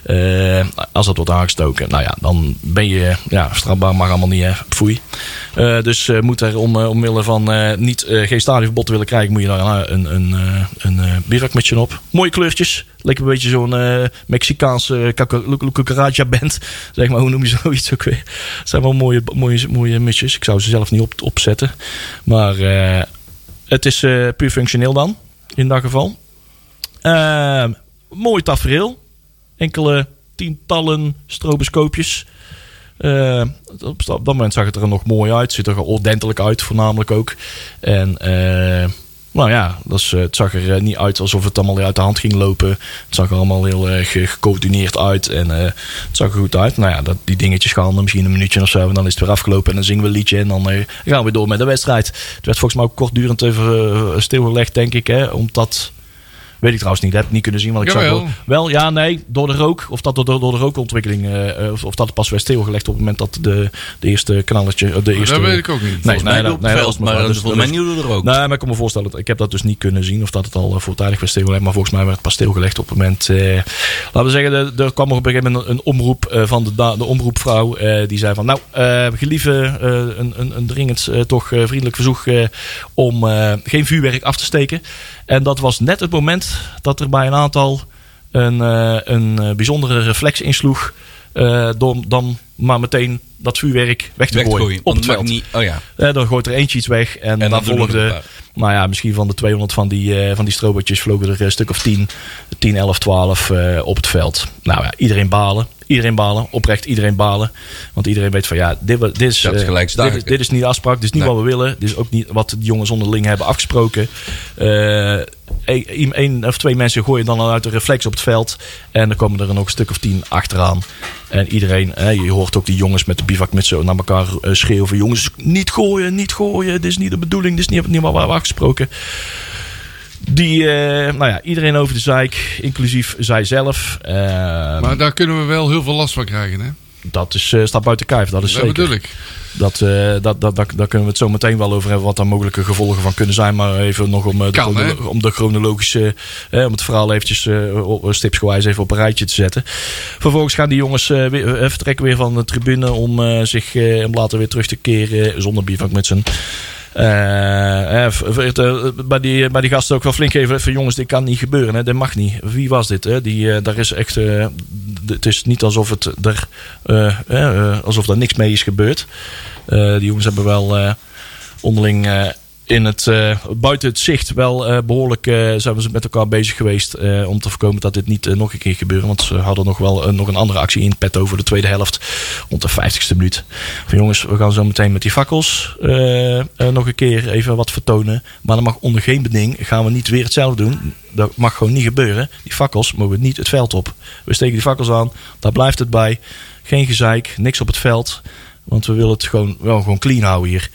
Speaker 4: eh, als dat wordt aangestoken, nou ja, dan ben je eh, ja, strafbaar, maar allemaal niet. Hè. Foei. Eh, dus eh, moet er om, eh, omwille van eh, niet, eh, geen stadionverbod te willen krijgen, moet je daar eh, een, een, eh, een eh bivakmutsje op. Mooie kleurtjes. Lekker een beetje zo'n eh, Mexicaanse eh, cucaracha band. Zeg maar, hoe noem je zoiets ook weer? Het zijn wel mooie, mooie, mooie mutsjes. Ik zou ze zelf niet op, opzetten. Maar eh, het is eh, puur functioneel dan, in dat geval. Ehm, mooi tafereel. Enkele tientallen stroboscoopjes. Eh, op dat moment zag het er nog mooi uit. Ziet er ordentelijk uit, voornamelijk ook. En eh, nou ja, dat is, eh, het zag er eh, niet uit alsof het allemaal uit de hand ging lopen. Het zag er allemaal heel eh, ge- gecoördineerd uit. En eh, het zag er goed uit. Nou ja, dat, die dingetjes gaan er misschien een minuutje of zo. En dan is het weer afgelopen. En dan zingen we een liedje. En dan eh, gaan we weer door met de wedstrijd. Het werd volgens mij ook kortdurend even eh, stilgelegd, denk ik. Hè, omdat. Weet ik trouwens niet, dat heb ik niet kunnen zien. Want ik zag
Speaker 2: Jawel.
Speaker 4: wel, wel, ja, nee, door de rook. Of dat door, door de rookontwikkeling. eh, eh, of, of dat het pas werd stilgelegd op het moment dat de, de eerste knalletje. eh, De eerste,
Speaker 2: Nou, dat weet ik ook niet.
Speaker 4: Nee,
Speaker 3: Volgens mij
Speaker 4: nee,
Speaker 3: doet
Speaker 4: nee, nee,
Speaker 3: het
Speaker 4: dat was
Speaker 3: veld, maar
Speaker 4: maar-
Speaker 3: dat
Speaker 4: dus
Speaker 3: is volgens
Speaker 4: dat
Speaker 3: mij
Speaker 4: is-
Speaker 3: niet door de rook.
Speaker 4: Nee, maar ik kan me voorstellen, dat- ik heb dat dus niet kunnen zien of dat het al eh, voortijdig werd stilgelegd. Maar volgens mij werd het pas stilgelegd op het moment. eh, laten we zeggen, er- er kwam op een gegeven moment een, een omroep eh, van de, da- de omroepvrouw. eh, die zei van, nou, eh, gelieve eh, een, een, een dringend eh, toch eh, vriendelijk verzoek eh, om eh, geen vuurwerk af te steken. En dat was net het moment dat er bij een aantal een, eh, een eh, bijzondere reflex insloeg. eh, door dan maar meteen dat vuurwerk weg te
Speaker 3: Weg te
Speaker 4: gooien,
Speaker 3: gooien,
Speaker 4: op
Speaker 3: want
Speaker 4: het
Speaker 3: het mag
Speaker 4: veld.
Speaker 3: niet- Oh ja.
Speaker 4: Eh, dan gooit er eentje iets weg. En,
Speaker 3: En
Speaker 4: dan
Speaker 3: dan doen er een
Speaker 4: volgde,
Speaker 3: paar.
Speaker 4: nou ja, misschien van de 200 van die, eh, van die strobertjes vlogen er een stuk of 10, 10 11, 12 eh, op het veld. Nou ja, iedereen balen. Iedereen balen. Oprecht iedereen balen. Want iedereen weet van ja, dit, wa- dit, is,
Speaker 3: Dat is
Speaker 4: eh,
Speaker 3: gelijkstaardig.
Speaker 4: dit, is- dit is niet de afspraak. Dit is niet
Speaker 3: Nee.
Speaker 4: wat we willen. Dit is ook niet wat de jongens onderling hebben afgesproken. Eh, Eén één of twee mensen gooien dan al uit de reflex op het veld. En dan komen er nog een stuk of tien achteraan. En iedereen, hè, je hoort ook die jongens met de bivakmutsen naar elkaar eh, schreeuwen. van, Jongens, niet gooien, niet gooien. Dit is niet de bedoeling. Dit is niet, niet wat we hebben afgesproken. Die, eh, nou ja, iedereen over de zeik, inclusief zijzelf. Eh,
Speaker 2: Maar daar kunnen we wel heel veel last van krijgen, hè?
Speaker 4: dat is, eh, staat buiten kijf, dat is
Speaker 2: Dat
Speaker 4: zeker.
Speaker 2: bedoel ik.
Speaker 4: Dat, eh, dat, dat, dat, daar kunnen we het zo meteen wel over hebben, wat daar mogelijke gevolgen van kunnen zijn. Maar even nog om, eh, de,
Speaker 2: Kan,
Speaker 4: chronolo-
Speaker 2: hè?
Speaker 4: om de chronologische, eh, om het verhaal eventjes eh, op- stipsgewijs even op een rijtje te zetten. Vervolgens gaan die jongens eh, weer, eh, vertrekken weer van de tribune om eh, zich eh, om later weer terug te keren zonder bivakmutsen. Eh, eh, v- v- het, eh, bij, die, bij die gasten ook wel flink even van jongens, dit kan niet gebeuren, hè? dit mag niet. Wie was dit? Hè? Die, eh, daar is echt, eh, d- het is niet alsof, het er, eh, eh, eh, alsof daar niks mee is gebeurd. Eh, die jongens hebben wel eh, onderling eh, in het, eh, buiten het zicht wel eh, behoorlijk eh, zijn we ze met elkaar bezig geweest eh, om te voorkomen dat dit niet eh, nog een keer gebeurt. Want ze hadden nog wel eh, nog een andere actie in pet over de tweede helft rond de 50ste minuut. Van jongens, we gaan zo meteen met die fakkels eh, eh, nog een keer even wat vertonen. Maar dat mag onder geen beding gaan we niet weer hetzelfde doen. Dat mag gewoon niet gebeuren. Die fakkels mogen niet het veld op. We steken die fakkels aan, daar blijft het bij. Geen gezeik, niks op het veld. Want we willen het gewoon, wel gewoon clean houden hier.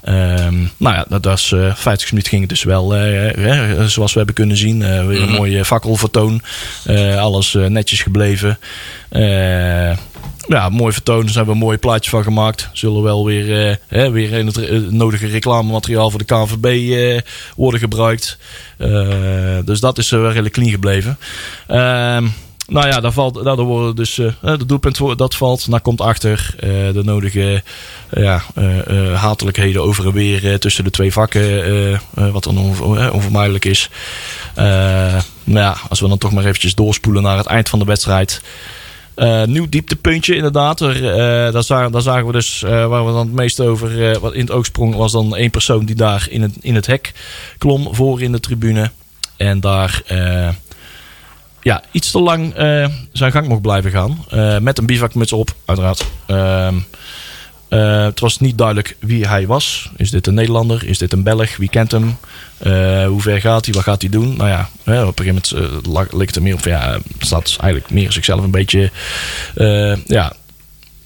Speaker 4: Ehm, nou ja, dat was eh 50 minuten ging het dus wel, eh, eh, zoals we hebben kunnen zien. eh, weer een mooie fakkelvertoon. Eh, alles eh, netjes gebleven. Eh, ja, mooi vertoon. Daar hebben we een mooi plaatje van gemaakt. Zullen wel weer, eh, hè, weer in het eh, nodige reclamemateriaal voor de KNVB eh, worden gebruikt. Eh, dus dat is eh, wel redelijk clean gebleven. Ehm nou ja, daar valt, daardoor worden dus eh de doelpunt wo- dat valt. Daar komt achter eh, de nodige eh, ja, eh, eh, hatelijkheden over en weer eh, tussen de twee vakken. eh, eh, wat dan onver- eh, onvermijdelijk is. Eh, nou ja, als we dan toch maar eventjes doorspoelen naar het eind van de wedstrijd. Eh, nieuw dieptepuntje inderdaad. Er, eh, daar, zagen, daar zagen we dus eh, waar we dan het meest over eh, wat in het oog sprong. Was dan één persoon die daar in het, in het hek klom voor in de tribune. En daar... eh, ja, iets te lang eh, zijn gang mocht blijven gaan. Eh, met een bivakmuts op, uiteraard. Ehm, eh, het was niet duidelijk wie hij was. Is dit een Nederlander? Is dit een Belg? Wie kent hem? Eh, hoe ver gaat hij? Wat gaat hij doen? Nou ja, hè, op een gegeven moment eh, lag- leek het er meer op. van, Ja, eh, staat eigenlijk meer zichzelf een beetje eh, ja,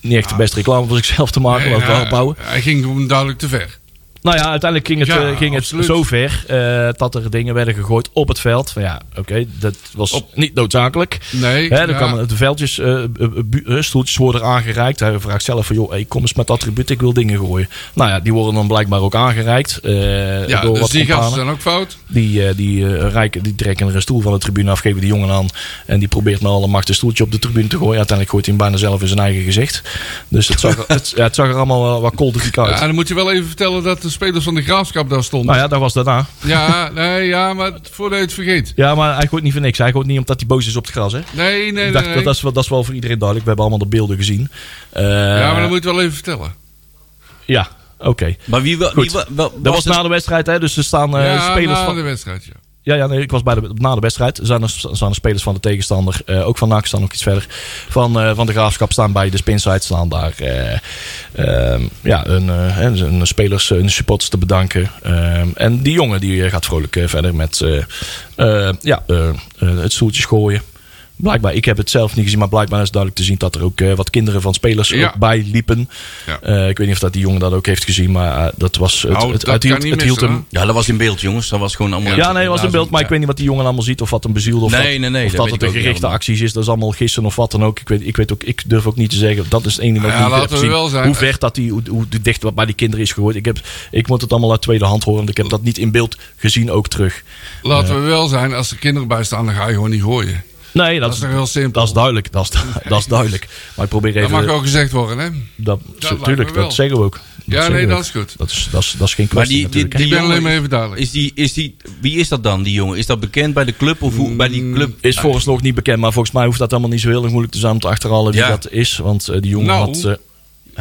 Speaker 4: niet echt de beste reclame voor zichzelf te maken, laten we
Speaker 2: Nee,
Speaker 4: daarop houden.
Speaker 2: Hij ging gewoon duidelijk te ver.
Speaker 4: Nou ja, uiteindelijk ging het,
Speaker 2: Ja,
Speaker 4: eh, ging het
Speaker 2: absoluut.
Speaker 4: zover eh, dat er dingen werden gegooid op het veld. Van ja, oké, dat was niet noodzakelijk.
Speaker 2: Nee,
Speaker 4: Hè, dan
Speaker 2: ja.
Speaker 4: kan de veldjes, eh, eh, bu- eh, stoeltjes worden aangereikt. Hij vraagt zelf van, joh, hey, kom eens met attribuut, ik wil dingen gooien. Nou ja, die worden dan blijkbaar ook aangereikt. eh,
Speaker 2: Ja,
Speaker 4: door
Speaker 2: dus
Speaker 4: wat
Speaker 2: die gasten
Speaker 4: companen.
Speaker 2: zijn ook fout.
Speaker 4: Die, eh, die, eh, rijken, die trekken er een stoel van de tribune af, geven die jongen aan. En die probeert met alle macht een stoeltje op de tribune te gooien. Uiteindelijk gooit hij hem bijna zelf in zijn eigen gezicht. Dus het zag, er- het, ja, het zag er allemaal wel wat kolderiek uit.
Speaker 2: Ja, en dan moet je wel even vertellen dat de spelers van de graafschap daar stonden.
Speaker 4: nou ja, dat was daarna.
Speaker 2: Ja, nee, ja, maar voordat je het vergeet.
Speaker 4: Ja, maar hij gooit niet voor niks. Hij gooit niet omdat hij boos is op het gras, hè?
Speaker 2: Nee, nee,
Speaker 4: Ik
Speaker 2: nee.
Speaker 4: dacht,
Speaker 2: nee.
Speaker 4: dat, dat, is wel, dat is wel voor iedereen duidelijk. We hebben allemaal de beelden gezien. Eh,
Speaker 2: Ja, maar dat moet je wel even vertellen.
Speaker 4: Ja, oké.
Speaker 3: Maar wie wel.
Speaker 4: Goed.
Speaker 3: Wie, wel- wel-
Speaker 4: Dat was
Speaker 3: het-
Speaker 4: na de wedstrijd, hè? Dus er staan eh,
Speaker 2: ja,
Speaker 4: spelers
Speaker 2: na
Speaker 4: van...
Speaker 2: de wedstrijd, ja.
Speaker 4: Ja, ja nee, ik was bij de, na de wedstrijd. Zijn er staan er spelers van de tegenstander. eh, ook van NAC staan nog iets verder. Van, eh, van de Graafschap staan bij de Spinside. Staan daar eh, ehm, ja, hun, eh, hè, hun spelers, hun supporters te bedanken. Ehm, en die jongen die eh, gaat vrolijk eh, verder met eh, eh, ja, eh, eh, het stoeltje gooien. Blijkbaar, ik heb het zelf niet gezien, maar blijkbaar is duidelijk te zien dat er ook eh, wat kinderen van spelers
Speaker 2: Ja.
Speaker 4: ook bij liepen.
Speaker 2: Ja.
Speaker 4: Eh, ik weet niet of dat die jongen dat ook heeft gezien, maar eh, dat was. Het,
Speaker 2: Nou,
Speaker 4: het,
Speaker 2: dat
Speaker 4: het
Speaker 2: kan
Speaker 4: hield,
Speaker 2: niet
Speaker 4: het hield
Speaker 2: missen,
Speaker 4: hem,
Speaker 2: hè?
Speaker 3: Ja, dat was in beeld, jongens. Dat was gewoon allemaal.
Speaker 4: ja, nee, het was een beeld, maar ik
Speaker 3: Ja.
Speaker 4: weet niet wat die jongen allemaal ziet. Of wat hem bezielt. Of
Speaker 3: Nee,
Speaker 4: dat,
Speaker 3: nee, nee,
Speaker 4: of
Speaker 3: dat
Speaker 4: dat het
Speaker 3: weet ik
Speaker 4: een
Speaker 3: ook niet
Speaker 4: gerichte
Speaker 3: allemaal.
Speaker 4: acties is. Dat is allemaal gissen of wat dan ook. Ik, weet, ik, weet ook, ik durf ook niet te zeggen. Dat is het enige wat
Speaker 2: Ja,
Speaker 4: ik niet
Speaker 2: laten
Speaker 4: heb
Speaker 2: we
Speaker 4: gezien.
Speaker 2: wel zijn.
Speaker 4: Hoe ver dat die, hoe, hoe dicht wat bij die kinderen is gegooid. Ik, heb, ik moet het allemaal uit tweede hand horen. Want ik heb dat niet in beeld gezien ook terug.
Speaker 2: Laten we wel zijn, als er kinderen bij staan, dan ga je gewoon niet gooien.
Speaker 4: Nee, dat,
Speaker 2: is toch heel simpel?
Speaker 4: Dat is duidelijk. Dat is, dat is duidelijk. Maar ik probeer
Speaker 2: Dat
Speaker 4: even...
Speaker 2: mag wel gezegd worden, hè?
Speaker 4: dat,
Speaker 2: lijkt me
Speaker 4: tuurlijk,
Speaker 2: wel.
Speaker 4: dat zeggen we ook. Dat
Speaker 2: Ja,
Speaker 4: zeggen
Speaker 2: nee,
Speaker 4: we
Speaker 2: dat
Speaker 4: ook.
Speaker 2: is goed.
Speaker 4: Dat is, dat is, dat is geen
Speaker 3: Maar
Speaker 4: kwestie
Speaker 3: die, die,
Speaker 4: natuurlijk.
Speaker 3: die
Speaker 2: Ik ben
Speaker 3: jongen-
Speaker 2: alleen maar even duidelijk.
Speaker 3: Is die, is die, wie is dat dan, die jongen? Is dat bekend bij de club? Of hoe, bij
Speaker 2: Mm.
Speaker 3: die club?
Speaker 4: Is vooralsnog niet bekend, maar volgens mij hoeft dat allemaal niet zo heel erg moeilijk te zijn om te achterhalen wie
Speaker 3: Ja.
Speaker 4: dat is. Want eh, die jongen
Speaker 2: Nou.
Speaker 4: had. eh,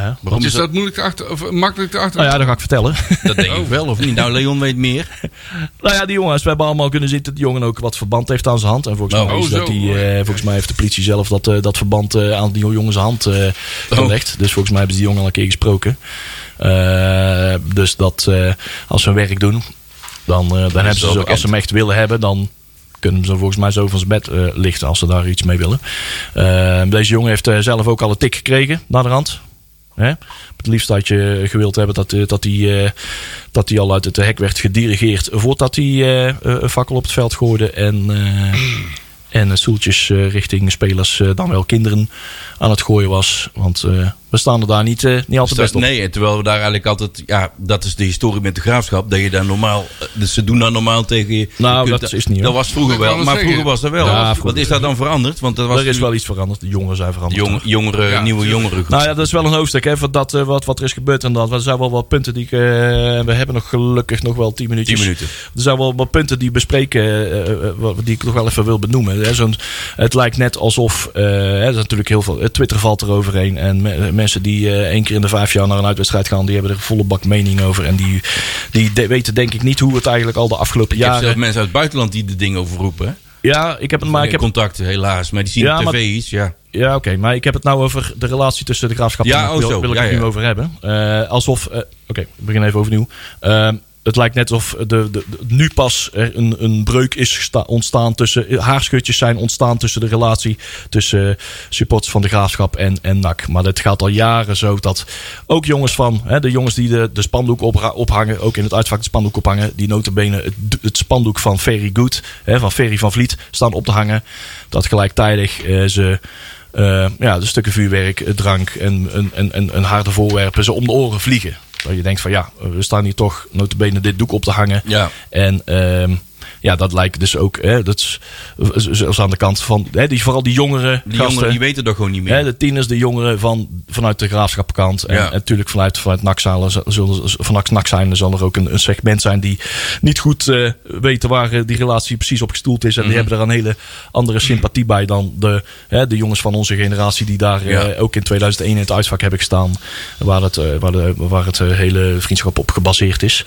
Speaker 4: hè, wat?
Speaker 2: is dat moeilijk te achter, of eh, makkelijk te achter?
Speaker 4: Nou ja, dat ga ik vertellen.
Speaker 3: Dat denk
Speaker 2: Oh.
Speaker 3: ik wel, of niet? Nou, Leon weet meer.
Speaker 4: nou ja, die jongens, we hebben allemaal kunnen zien dat die jongen ook wat verband heeft aan zijn hand. En volgens,
Speaker 3: Oh.
Speaker 4: mij, is
Speaker 2: Oh,
Speaker 4: dat
Speaker 2: zo.
Speaker 4: die, eh, volgens mij heeft de politie zelf dat, eh, dat verband eh, aan die jongen zijn hand eh, gelegd. Dus volgens mij hebben ze die jongen al een keer gesproken. Eh, dus dat eh, als ze hun werk doen, dan, eh, dan hebben ze,
Speaker 3: wel
Speaker 4: zo-
Speaker 3: bekend.
Speaker 4: als ze hem echt willen hebben, dan kunnen ze hem volgens mij zo van zijn bed eh, lichten als ze daar iets mee willen. Eh, deze jongen heeft eh, zelf ook al een tik gekregen naar de rand. Hè? Het liefst had je gewild hebben dat hij dat die, eh, dat die al uit het hek werd gedirigeerd voordat hij eh, eh, een fakkel op het veld gooide en, eh en eh, stoeltjes eh, richting spelers, eh, dan wel kinderen, aan het gooien was. Want eh, we staan er daar niet, eh, niet altijd best op.
Speaker 3: Nee, en terwijl we daar eigenlijk altijd... Ja, dat is de historie met de graafschap. Dat je daar normaal... eh, Dus ze doen daar normaal tegen je.
Speaker 4: Nou,
Speaker 3: je kunt
Speaker 4: dat is niet, hoor.
Speaker 3: Dat was vroeger
Speaker 2: Ik wou
Speaker 3: wel,
Speaker 2: net
Speaker 3: maar
Speaker 2: zeggen.
Speaker 3: vroeger was dat wel.
Speaker 4: Ja,
Speaker 3: Wat- Wat
Speaker 4: vroeger.
Speaker 3: is daar dan veranderd? Want dat was
Speaker 4: Er is
Speaker 3: natuurlijk
Speaker 4: wel iets veranderd. De jongeren zijn veranderd.
Speaker 3: jong- jongere,
Speaker 2: Ja,
Speaker 3: nieuwe jongeren.
Speaker 4: Nou ja, dat is wel een hoofdstuk, hè, van dat, eh, wat, wat er is gebeurd en dat. Er zijn wel wat punten die ik... eh, we hebben nog gelukkig nog wel tien minuutjes.
Speaker 3: 10 minuten.
Speaker 4: Er zijn wel wat punten die bespreken, eh, eh, wat- die ik nog wel even wil benoemen. Hè. Zo'n- het lijkt net alsof... eh, hè, er is natuurlijk heel veel... eh, Twitter valt er overheen. En me- mensen die eh, één keer in de vijf jaar naar een uitwedstrijd gaan... die hebben er volle bak mening over. En die, die de- weten denk ik niet hoe het eigenlijk al de afgelopen
Speaker 3: Ik heb zelf
Speaker 4: jaren...
Speaker 3: mensen uit het buitenland die de dingen over roepen. hè.
Speaker 4: Ja, ik heb het... Maar ik heb,
Speaker 3: contact, helaas. Maar die zien
Speaker 4: Ja,
Speaker 3: op
Speaker 4: maar-
Speaker 3: tv iets, ja.
Speaker 4: Ja, oké, maar ik heb het nou over de relatie tussen de graafschap
Speaker 3: Ja,
Speaker 4: en NAC.
Speaker 3: oh,
Speaker 4: wil,
Speaker 3: zo.
Speaker 4: wil ik
Speaker 3: Ja,
Speaker 4: het
Speaker 3: ja.
Speaker 4: nu over hebben. Eh, alsof, eh, oké, ik begin even overnieuw. Ehm, het lijkt net alsof de, de, de- nu pas er een, een breuk is gesta- ontstaan tussen, haarschutjes zijn ontstaan tussen de relatie tussen eh, supporters van de graafschap en, en NAC. Maar dat gaat al jaren zo dat ook jongens van, hè, de jongens die de, de spandoek opra- ophangen, ook in het uitvak de spandoek ophangen, die notabene het, d- het spandoek van Ferry Good, hè, van Ferry van Vliet, staan op te hangen. Dat gelijktijdig eh, ze eh, ja, de stukken vuurwerk, eh, drank en, en, en, en, en harde voorwerpen ze om de oren vliegen. Dat je denkt van ja, eh, we staan hier toch notabene dit doek op te hangen.
Speaker 3: Ja.
Speaker 4: En ehm, ja, dat lijkt dus ook, hè, dat is z- zelfs aan de kant van, hè, die, vooral die jongere
Speaker 3: Die
Speaker 4: gasten.
Speaker 3: jongeren die weten dat gewoon niet meer.
Speaker 4: Hè, de tieners, de jongeren van, vanuit de graafschapkant. En
Speaker 3: Ja.
Speaker 4: en natuurlijk vanuit, vanuit NAC-zalen z- zullen, z- vanuit NAC zijn, er zal er ook een, een segment zijn die niet goed eh, weten waar eh, die relatie precies op gestoeld is. En
Speaker 3: Mhm.
Speaker 4: die hebben er een hele andere sympathie bij dan de, hè, de jongens van onze generatie die daar eh,
Speaker 3: Ja.
Speaker 4: ook in 2001 in het uitvak hebben gestaan. Waar het, eh, waar de, waar het eh, hele vriendschap op gebaseerd is.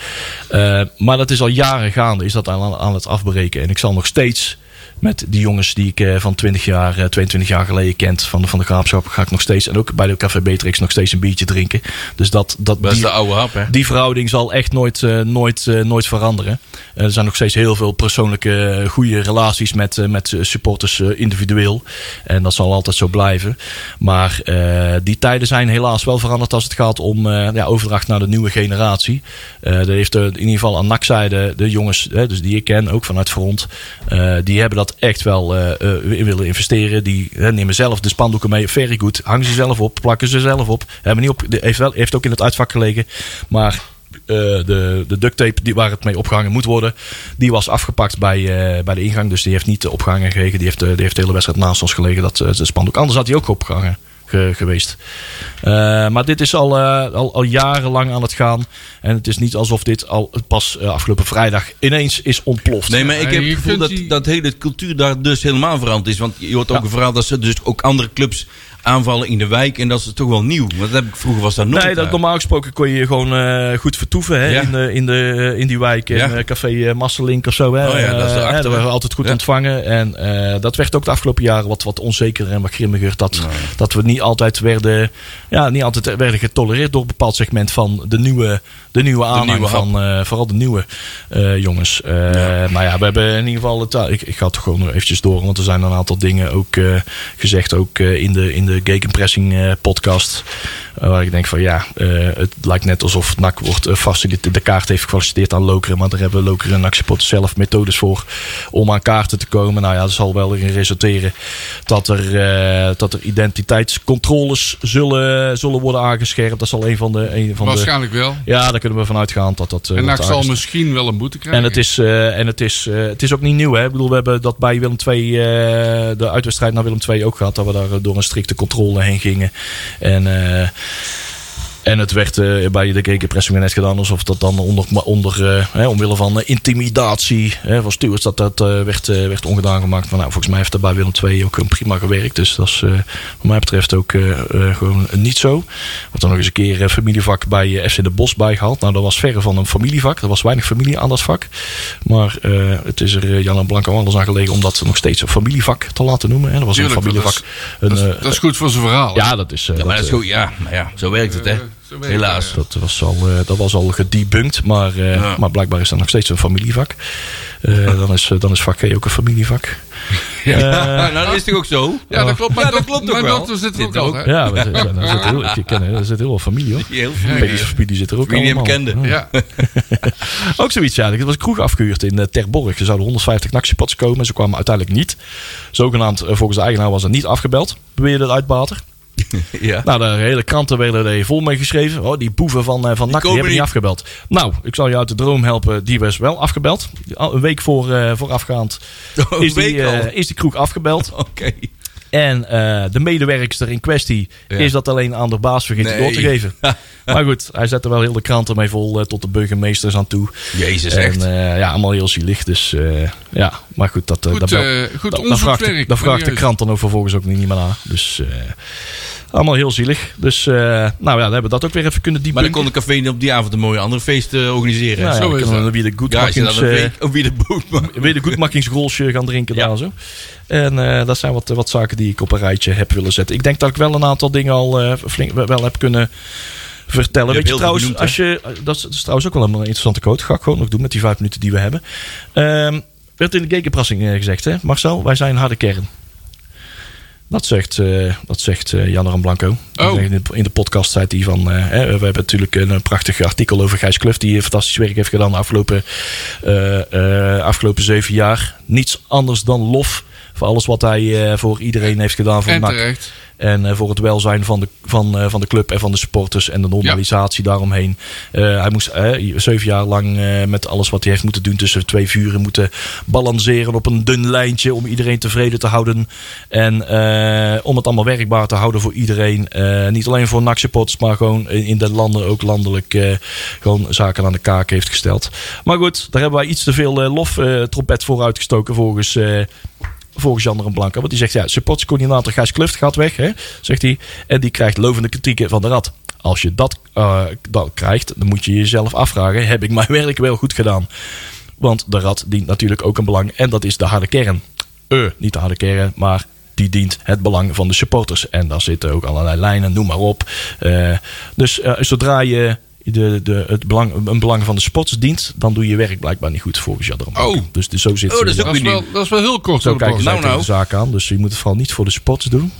Speaker 4: Eh, maar dat is al jaren gaande, is dat aan, aan het afbreken. En ik zal nog steeds met die jongens die ik eh, van 20 jaar, eh, 22 jaar geleden kent van de, van de graafschap. Ga ik nog steeds, en ook bij de Café Beatrix, nog steeds een biertje drinken. Dus dat, dat
Speaker 3: Dat is
Speaker 4: die-
Speaker 3: de oude hap, hè?
Speaker 4: die verhouding zal echt nooit, eh, nooit, eh, nooit veranderen. Eh, er zijn nog steeds heel veel persoonlijke eh, goede relaties met, eh, met supporters eh, individueel. En dat zal altijd zo blijven. Maar eh, die tijden zijn helaas wel veranderd als het gaat om eh, ja, overdracht naar de nieuwe generatie. Eh dat heeft eh, in ieder geval aan NAC-zijde de jongens, eh, dus die ik ken, ook vanuit Front. eh, die hebben dat echt wel eh, eh, in willen investeren. Die eh, nemen zelf de spandoeken mee. Very good. Hangen ze zelf op, plakken ze zelf op. Hebben niet op de- heeft, wel, heeft ook in het uitvak gelegen. Maar eh, de, de duct tape die, waar het mee opgehangen moet worden, die was afgepakt bij, eh, bij de ingang. Dus die heeft niet eh, opgehangen gelegen. Die heeft, eh, die heeft de hele wedstrijd naast ons gelegen. Dat eh, dat spandoek. Anders had hij ook opgehangen ge- geweest. Eh, maar dit is al, eh, al, al jarenlang aan het gaan. En het is niet alsof dit al pas eh, afgelopen vrijdag ineens is ontploft.
Speaker 3: Nee, maar ik
Speaker 2: Ja,
Speaker 3: heb
Speaker 2: je
Speaker 3: het gevoel
Speaker 2: kunt
Speaker 3: dat,
Speaker 2: die-
Speaker 3: dat hele cultuur daar dus helemaal veranderd is. Want je hoort ook
Speaker 4: Ja.
Speaker 3: een verhaal dat ze dus ook andere clubs aanvallen in de wijk. En dat is toch wel nieuw. Want dat heb ik, vroeger was dat nooit.
Speaker 4: Nee, dat,
Speaker 3: daar.
Speaker 4: normaal gesproken kon je gewoon eh, goed vertoeven hè,
Speaker 3: Ja.
Speaker 4: in, de, in, de, in die wijk. En,
Speaker 3: Ja.
Speaker 4: eh, café eh, Masselink of zo. Hè,
Speaker 3: Oh ja, dat is
Speaker 4: Eh,
Speaker 3: erachter,
Speaker 4: hè, daar waren
Speaker 3: hè.
Speaker 4: we altijd goed
Speaker 3: Ja.
Speaker 4: ontvangen. En eh, dat werd ook de afgelopen jaren wat, wat onzekerder en wat grimmiger. Dat, dat we niet altijd, werden, ja, niet altijd werden getolereerd door een bepaald segment van de nieuwe, de nieuwe aanhang.
Speaker 3: nieuwe hap.
Speaker 4: van, eh, vooral de nieuwe eh, jongens. Eh Nou ja, we hebben in ieder geval... Het, eh, ik, ik ga het gewoon nog eventjes door. Want er zijn een aantal dingen ook eh, gezegd. Ook eh, in de, in de Gegenpressing eh, podcast. Eh, waar ik denk van ja, eh, het lijkt net alsof NAC wordt eh, facilite- de kaart heeft gefaciliteerd aan Lokeren. Maar daar hebben Lokeren en NAC supporters zelf methodes voor om aan kaarten te komen. Nou ja, dat zal wel erin resulteren dat er, eh, dat er identiteitscontroles zullen, zullen worden aangescherpt. Dat zal een van de... Een van de
Speaker 2: Waarschijnlijk wel.
Speaker 4: ja, daar kunnen we vanuit gaan dat dat. eh,
Speaker 2: En
Speaker 4: wordt
Speaker 2: NAC zal
Speaker 4: aangescherpt.
Speaker 2: misschien wel een boete krijgen.
Speaker 4: En het is, eh, en het is, eh, het is ook niet nieuw. Hè? Ik bedoel, we hebben dat bij Willem II, eh, de uitwedstrijd naar Willem II ook gehad. Dat we daar eh, door een strikte controle heen gingen. En, eh, en het werd eh, bij de kekenpressing weer net gedaan. Alsof dat dan onder, maar onder eh, hè, omwille van eh, intimidatie hè, van stewards. Dat dat eh, werd, eh, werd ongedaan gemaakt. Maar nou, volgens mij heeft dat bij Willem II ook een prima gewerkt. Dus dat is eh, wat mij betreft ook eh, eh, gewoon niet zo. Want dan nog eens een keer eh, familievak bij eh, FC De Bos bijgehaald. Nou, dat was verre van een familievak. Er was weinig familie aan dat vak. Maar eh, het is er eh, Jan en Blanco anders aan gelegen om dat nog steeds een familievak te laten noemen. En dat was
Speaker 2: Tuurlijk,
Speaker 4: een
Speaker 2: dat
Speaker 4: familievak.
Speaker 2: is-
Speaker 4: een,
Speaker 2: dat, is,
Speaker 4: eh,
Speaker 2: dat is goed voor zijn verhaal. hè?
Speaker 4: ja, dat is. eh,
Speaker 3: Ja, maar dat
Speaker 4: dat,
Speaker 3: is goed. Ja, maar ja, zo werkt het, hè?
Speaker 2: Eh, zo werkt
Speaker 3: Helaas.
Speaker 2: het,
Speaker 4: dat was al, eh, dat was al gedebunked, maar, eh,
Speaker 3: Ja.
Speaker 4: maar blijkbaar is dat nog steeds een familievak. Eh, dan, is, eh, dan is vak G ook een familievak.
Speaker 3: Ja. nou, dat is toch ook zo?
Speaker 2: ja. Ja, dat klopt. Maar
Speaker 3: Ja, dat klopt ook
Speaker 2: mijn
Speaker 3: wel.
Speaker 2: dochter zit er
Speaker 3: Zit
Speaker 2: ook
Speaker 3: er
Speaker 2: al.
Speaker 3: ook.
Speaker 2: hè?
Speaker 4: Ja, maar er, er, er zit heel, ik ken, er zit heel veel familie hoor.
Speaker 3: Heel veel.
Speaker 4: Peters familie zit er ook
Speaker 3: Familie en
Speaker 4: allemaal.
Speaker 3: bekenden.
Speaker 2: Ja.
Speaker 4: Ook zoiets ja. Er was een kroeg afgehuurd in eh, Terborg. Er zouden 150 nachtjepads komen en ze kwamen uiteindelijk niet. Zogenaamd, eh, volgens de eigenaar was er niet afgebeld, beweerde de uitbater.
Speaker 3: Ja.
Speaker 4: Nou, de hele kranten werden er vol mee geschreven. Oh, die boeven van, eh, van NAC, die
Speaker 3: komen
Speaker 4: hebben niet
Speaker 3: niet.
Speaker 4: afgebeld. Nou, ik zal je uit de droom helpen. Die was wel afgebeld. Al Een week voor, eh, voorafgaand
Speaker 3: Een
Speaker 4: is, die,
Speaker 3: week al.
Speaker 4: eh, is die kroeg afgebeld.
Speaker 3: Oké.
Speaker 4: En eh, de medewerkster in kwestie
Speaker 3: Ja.
Speaker 4: is dat alleen aan de baas vergeten
Speaker 3: Nee.
Speaker 4: door te geven. maar goed, hij zette wel heel de kranten mee vol eh, tot de burgemeesters aan toe.
Speaker 3: Jezus,
Speaker 4: en,
Speaker 3: echt.
Speaker 4: eh, ja, allemaal heel zielig. Dus eh, ja, maar goed, dat, eh,
Speaker 2: Goed,
Speaker 4: dat wel-
Speaker 2: eh, goed
Speaker 4: dat- dan vraagt, de,
Speaker 2: onderzoekswerk.
Speaker 4: dan vraagt de
Speaker 2: serieus.
Speaker 4: krant dan ook vervolgens ook niet meer naar. Dus eh, allemaal heel zielig. Dus eh, nou ja, dan hebben we dat ook weer even kunnen
Speaker 3: Maar dan
Speaker 4: diepen.
Speaker 3: kon de café op die avond een mooie andere feest eh, organiseren.
Speaker 4: nou, ja,
Speaker 3: Ja,
Speaker 2: zo
Speaker 4: dan
Speaker 2: is
Speaker 4: kunnen we
Speaker 2: dat.
Speaker 4: weer de
Speaker 3: ja, als je dan
Speaker 4: goedmakkings...
Speaker 3: een
Speaker 4: eh,
Speaker 3: week op wie de boot maakt.
Speaker 4: weer de goedmakkingsrolsje gaan drinken
Speaker 3: Ja.
Speaker 4: daar zo. En eh, dat zijn wat, wat zaken die ik op een rijtje heb willen zetten. Ik denk dat ik wel een aantal dingen al eh, flink wel heb kunnen vertellen.
Speaker 3: Je hebt
Speaker 4: Weet je
Speaker 3: heel
Speaker 4: trouwens,
Speaker 3: veel genoemd,
Speaker 4: als je, dat, is, dat is trouwens ook wel een interessante quote. Ga ik gewoon nog doen met die vijf minuten die we hebben. Ehm, werd in de gegenpressing eh, gezegd, hè? Marcel, wij zijn harde kern. Dat zegt, eh dat zegt eh, Jan Aram Blanco.
Speaker 2: Oh.
Speaker 4: In, de, in de podcast zei hij van... eh, hè, we hebben natuurlijk een, eh, prachtig artikel over Gijs Kluft... die eh, fantastisch werk heeft gedaan de afgelopen, eh, eh, afgelopen zeven jaar. Niets anders dan lof voor alles wat hij eh, voor iedereen heeft gedaan. Voor
Speaker 2: En
Speaker 4: NAC.
Speaker 2: terecht.
Speaker 4: En eh, voor het welzijn van de, van, eh, van de club en van de supporters en de normalisatie daaromheen. Eh, hij moest eh, zeven jaar lang eh, met alles wat hij heeft moeten doen tussen twee vuren moeten balanceren op een dun lijntje om iedereen tevreden te houden. En eh, om het allemaal werkbaar te houden voor iedereen. Eh, niet alleen voor NAC supporters, maar gewoon in, in de landen ook landelijk eh, gewoon zaken aan de kaak heeft gesteld. Maar goed, daar hebben wij iets te veel eh, lof eh, trompet voor uitgestoken volgens... eh, volgens Jan en Blanco. Want die zegt, ja, supportscoördinator Gijs Kluft gaat weg, hè, zegt hij. En die krijgt lovende kritieken van de Rad. Als je dat, eh, dan krijgt, dan moet je jezelf afvragen... heb ik mijn werk wel goed gedaan? Want de Rad dient natuurlijk ook een belang en dat is de harde kern.
Speaker 3: Dus
Speaker 2: Eh.
Speaker 4: Niet de harde kern, maar die dient het belang van de supporters. En daar zitten ook allerlei lijnen, noem maar op. Eh, dus eh, zodra je de, de, het belang, een belang van de supporters dient, dan doe je werk blijkbaar niet goed volgens Jadram.
Speaker 2: Oh.
Speaker 4: Dus, dus zo zit
Speaker 3: Oh, dat is
Speaker 4: ze.
Speaker 3: ook
Speaker 2: Dat is,
Speaker 3: weer
Speaker 2: wel, dat is wel heel kort.
Speaker 4: Zo
Speaker 2: door de
Speaker 4: kijken
Speaker 2: bocht.
Speaker 4: zij
Speaker 3: Nou,
Speaker 4: tegen
Speaker 3: nou.
Speaker 4: de zaak aan. Dus je moet het vooral niet voor de supporters doen.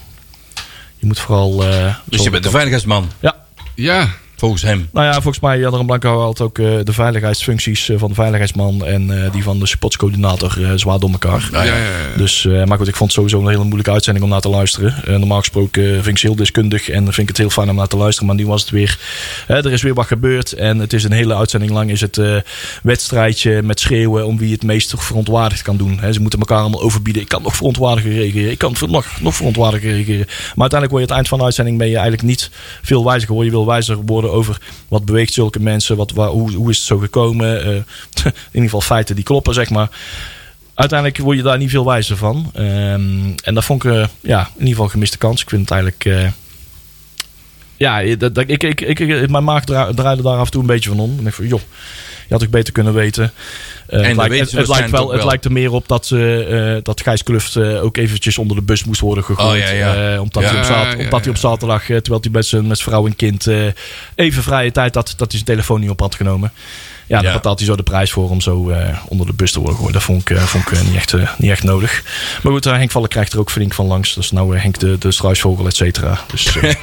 Speaker 4: Je moet vooral... eh,
Speaker 3: Dus je
Speaker 4: zorgen
Speaker 3: bent de
Speaker 4: dat-
Speaker 3: veiligheidsman,
Speaker 4: Ja,
Speaker 2: Ja,
Speaker 3: volgens hem.
Speaker 4: nou ja, volgens mij Jan Blanco had ook eh, de veiligheidsfuncties eh, van de veiligheidsman en eh, die van de sportscoördinator eh, zwaar door elkaar.
Speaker 2: ja, ja, ja.
Speaker 4: Dus, eh, maar goed, ik vond het sowieso een hele moeilijke uitzending om naar te luisteren. Eh, normaal gesproken eh, vind ik ze heel deskundig en vind ik het heel fijn om naar te luisteren. Maar nu was het weer, hè, er is weer wat gebeurd. En het is een hele uitzending lang is het eh, wedstrijdje met schreeuwen om wie het meest verontwaardigd kan doen. Hè, ze moeten elkaar allemaal overbieden. Ik kan nog verontwaardiger reageren. Ik kan ver- nog, nog verontwaardiger reageren. Maar uiteindelijk word je het eind van de uitzending ben je eigenlijk niet veel wijzer geworden. Je wil wijzer worden over wat beweegt zulke mensen. Wat, waar, hoe, hoe is het zo gekomen? eh, in ieder geval feiten die kloppen, zeg maar uiteindelijk word je daar niet veel wijzer van. Ehm, en dat vond ik eh, ja, in ieder geval een gemiste kans. Ik vind het eigenlijk. eh, ja, dat, dat- ik, ik, ik, ik- mijn maag dra- draaide daar af en toe een beetje van om. En ik dacht van, joh, je had ook beter kunnen weten. Eh,
Speaker 3: dat
Speaker 4: het lijkt,
Speaker 3: weten ze
Speaker 4: het, het lijkt
Speaker 3: waarschijnlijk
Speaker 4: wel,
Speaker 3: ook
Speaker 4: het
Speaker 3: wel.
Speaker 4: lijkt er meer op dat, eh, eh, dat Gijs Kluft eh, ook eventjes onder de bus moest worden gegooid.
Speaker 3: Oh, ja, ja.
Speaker 4: Eh, omdat hij op,
Speaker 2: Ja,
Speaker 4: zaad-
Speaker 2: ja,
Speaker 4: omdat
Speaker 2: ja.
Speaker 4: hij op zaterdag, eh, terwijl hij met zijn, met zijn vrouw en kind eh, even vrije tijd had, dat hij zijn telefoon niet op had genomen. Ja,
Speaker 3: Ja.
Speaker 4: daar betaalt hij zo de prijs voor om zo eh, onder de bus te worden gegooid. Dat vond ik, eh, vond ik eh, niet, echt, eh, niet echt nodig. Maar goed, eh, Henk Vallen krijgt er ook flink van langs. Dat is nou eh, Henk de, de struisvogel, et cetera. Dus, eh,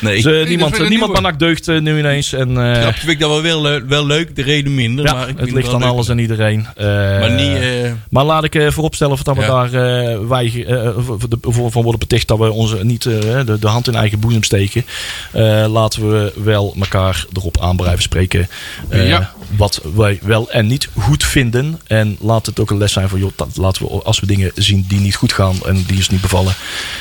Speaker 3: Nee.
Speaker 4: dus, eh, niemand,
Speaker 2: weer een
Speaker 4: niemand
Speaker 2: nieuwe.
Speaker 4: maar deugt eh, nu ineens. En, eh,
Speaker 3: Ja, vind ik dat wel, wel, eh, wel leuk, de reden minder.
Speaker 4: ja,
Speaker 3: maar ik
Speaker 4: het
Speaker 3: vind
Speaker 4: ligt
Speaker 3: wel
Speaker 4: aan
Speaker 3: leuk.
Speaker 4: alles en iedereen. Eh,
Speaker 3: Maar niet... eh,
Speaker 4: maar laat ik eh, vooropstellen of dat we
Speaker 3: Ja.
Speaker 4: daar eh, wij, eh, voor- de- voor van worden beticht dat we onze niet eh, de, de hand in eigen boezem steken. Eh, laten we wel elkaar erop aan blijven spreken. eh,
Speaker 2: Ja.
Speaker 4: Wat wij wel en niet goed vinden. En laat het ook een les zijn van joh, dat laten we als we dingen zien die niet goed gaan en die ons niet bevallen,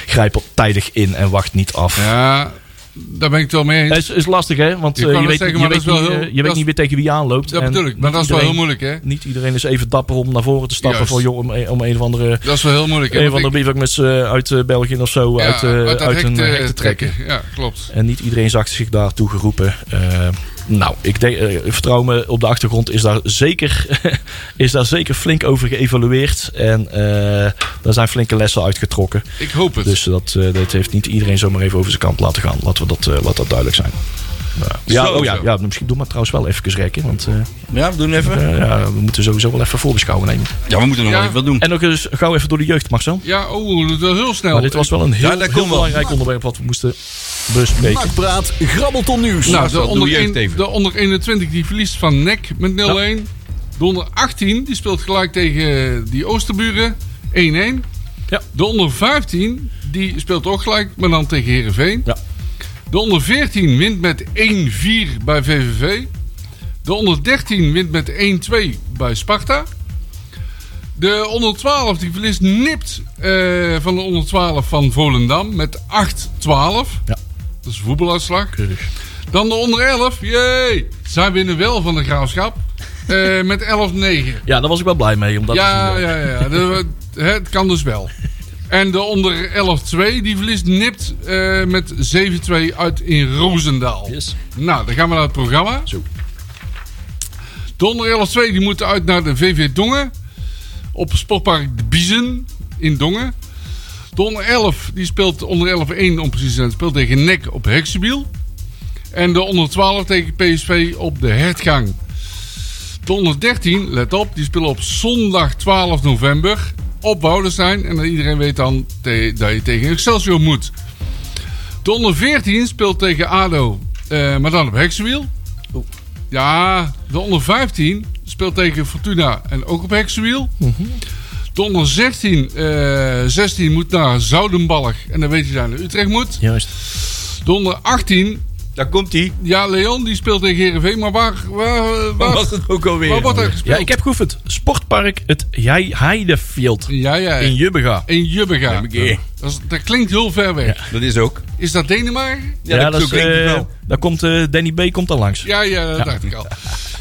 Speaker 4: grijp op tijdig in en wacht niet af.
Speaker 2: ja, daar ben ik het wel mee
Speaker 4: Het
Speaker 2: eens.
Speaker 4: is, is lastig hè, want
Speaker 2: Je
Speaker 4: eh,
Speaker 2: kan
Speaker 4: je,
Speaker 2: het
Speaker 4: weet,
Speaker 2: zeggen,
Speaker 4: je
Speaker 2: maar
Speaker 4: weet,
Speaker 2: dat is
Speaker 4: niet,
Speaker 2: wel heel-
Speaker 4: eh, je
Speaker 2: dat
Speaker 4: weet
Speaker 2: is-
Speaker 4: niet meer tegen wie je aanloopt.
Speaker 2: Dat
Speaker 4: en
Speaker 2: bedoel ik, maar
Speaker 4: niet
Speaker 2: dat is wel heel
Speaker 4: iedereen-
Speaker 2: moeilijk, hè?
Speaker 4: Niet iedereen is even dapper om naar voren te stappen
Speaker 2: Juist.
Speaker 4: van joh, om, een- om een of andere
Speaker 2: Dat is wel heel moeilijk. hè,
Speaker 4: een van
Speaker 2: want
Speaker 4: de
Speaker 2: ik-
Speaker 4: bief ook met z'n uit eh, België of zo
Speaker 2: ja,
Speaker 4: uit, eh,
Speaker 2: dat
Speaker 4: uit
Speaker 2: hek
Speaker 4: een
Speaker 2: te-
Speaker 4: hek te trekken.
Speaker 2: Ja, klopt.
Speaker 4: En niet iedereen zag zich daartoe geroepen. Eh, nou, ik denk, eh, vertrouw me, op de achtergrond is daar zeker, is daar zeker flink over geëvalueerd. En eh daar zijn flinke lessen uitgetrokken.
Speaker 2: Ik hoop het.
Speaker 4: Dus dat, eh, dat heeft niet iedereen zomaar even over zijn kant laten gaan. Laten we dat, eh, laat dat duidelijk zijn. Ja, ja,
Speaker 3: Zo,
Speaker 4: oh, ja,
Speaker 3: zo.
Speaker 4: ja, misschien doen we het trouwens wel even rekken. Want eh,
Speaker 3: ja, we doen even.
Speaker 4: eh, ja, we moeten sowieso wel even voorbeschouwen nemen.
Speaker 3: Ja, we moeten nog
Speaker 2: Ja.
Speaker 3: even wat doen.
Speaker 4: En ook eens gauw even door de jeugd, Marcel.
Speaker 2: Ja, oh, dat is wel heel snel.
Speaker 4: Maar dit was wel een heel,
Speaker 3: Ja, dat
Speaker 4: heel
Speaker 3: kon wel.
Speaker 4: belangrijk onderwerp wat we moesten bespreken.
Speaker 1: Nakpraat, grabbelton nieuws.
Speaker 2: Nou, de
Speaker 3: Doe
Speaker 2: onder,
Speaker 3: jeugd
Speaker 2: een-
Speaker 3: even.
Speaker 2: de onder 21 die verliest van NEC met 0-1. De onder 18 die speelt gelijk tegen eh, die Oosterburen 1-1.
Speaker 4: Ja.
Speaker 2: De onder 15 die speelt ook gelijk, maar dan tegen Herenveen.
Speaker 4: Ja.
Speaker 2: De onder 14 wint met 1-4 bij VVV. De onder 13 wint met 1-2 bij Sparta. De onder 12 die verliest nipt eh, van de onder 12 van Volendam met 8-12.
Speaker 4: Ja.
Speaker 2: Dat is een voetbaluitslag. Dan de onder 11. Jee! Zij winnen wel van de graafschap. eh, met 11-9.
Speaker 4: Ja, daar was ik wel blij mee. Omdat
Speaker 2: Ja,
Speaker 4: het, eh,
Speaker 2: ja, ja. De- hè, het kan dus wel. En de onder 11-2, die verliest nipt eh, met 7-2 uit in Roosendaal.
Speaker 4: Yes.
Speaker 2: Nou, dan gaan we naar het programma.
Speaker 4: Zo.
Speaker 2: De onder 11-2, die moeten uit naar de VV Dongen. Op Sportpark de Biezen in Dongen. De onder 11, die speelt onder 11-1 om precies te zijn, speelt tegen NEC op Heksebiel. En de onder 12 tegen PSV op de Hertgang. De onder 13, let op, die spelen op zondag 12 november op Woudenstein. En iedereen weet dan te- dat je tegen Excelsior moet. De onder 14 speelt tegen ADO, eh, maar dan op heksenwiel. Ja, de onder 15 speelt tegen Fortuna en ook op heksenwiel. De onder 16, eh, 16 moet naar Zoudenbalg en dan weet je dat je naar Utrecht moet.
Speaker 4: Juist.
Speaker 2: De onder 18,
Speaker 3: Daar komt hij.
Speaker 2: ja Leon die speelt tegen Heerenveen, maar waar, waar,
Speaker 3: Wat
Speaker 2: waar,
Speaker 3: was het ook alweer?
Speaker 2: waar wordt er
Speaker 4: Ja,
Speaker 2: gespeeld?
Speaker 4: ik heb geoefend. Sportpark het Jij Heidefield
Speaker 2: Ja, ja.
Speaker 4: in Jubbega.
Speaker 2: In Jubbega.
Speaker 3: Jubbega.
Speaker 2: Dat, is- dat klinkt heel ver weg.
Speaker 3: Dat is ook.
Speaker 2: Is dat Denemarken?
Speaker 3: Ja, dat, is ook
Speaker 4: eh,
Speaker 3: denk ik wel.
Speaker 4: daar komt eh, Danny B. komt daar langs.
Speaker 2: Ja, ja, dat dacht ik al.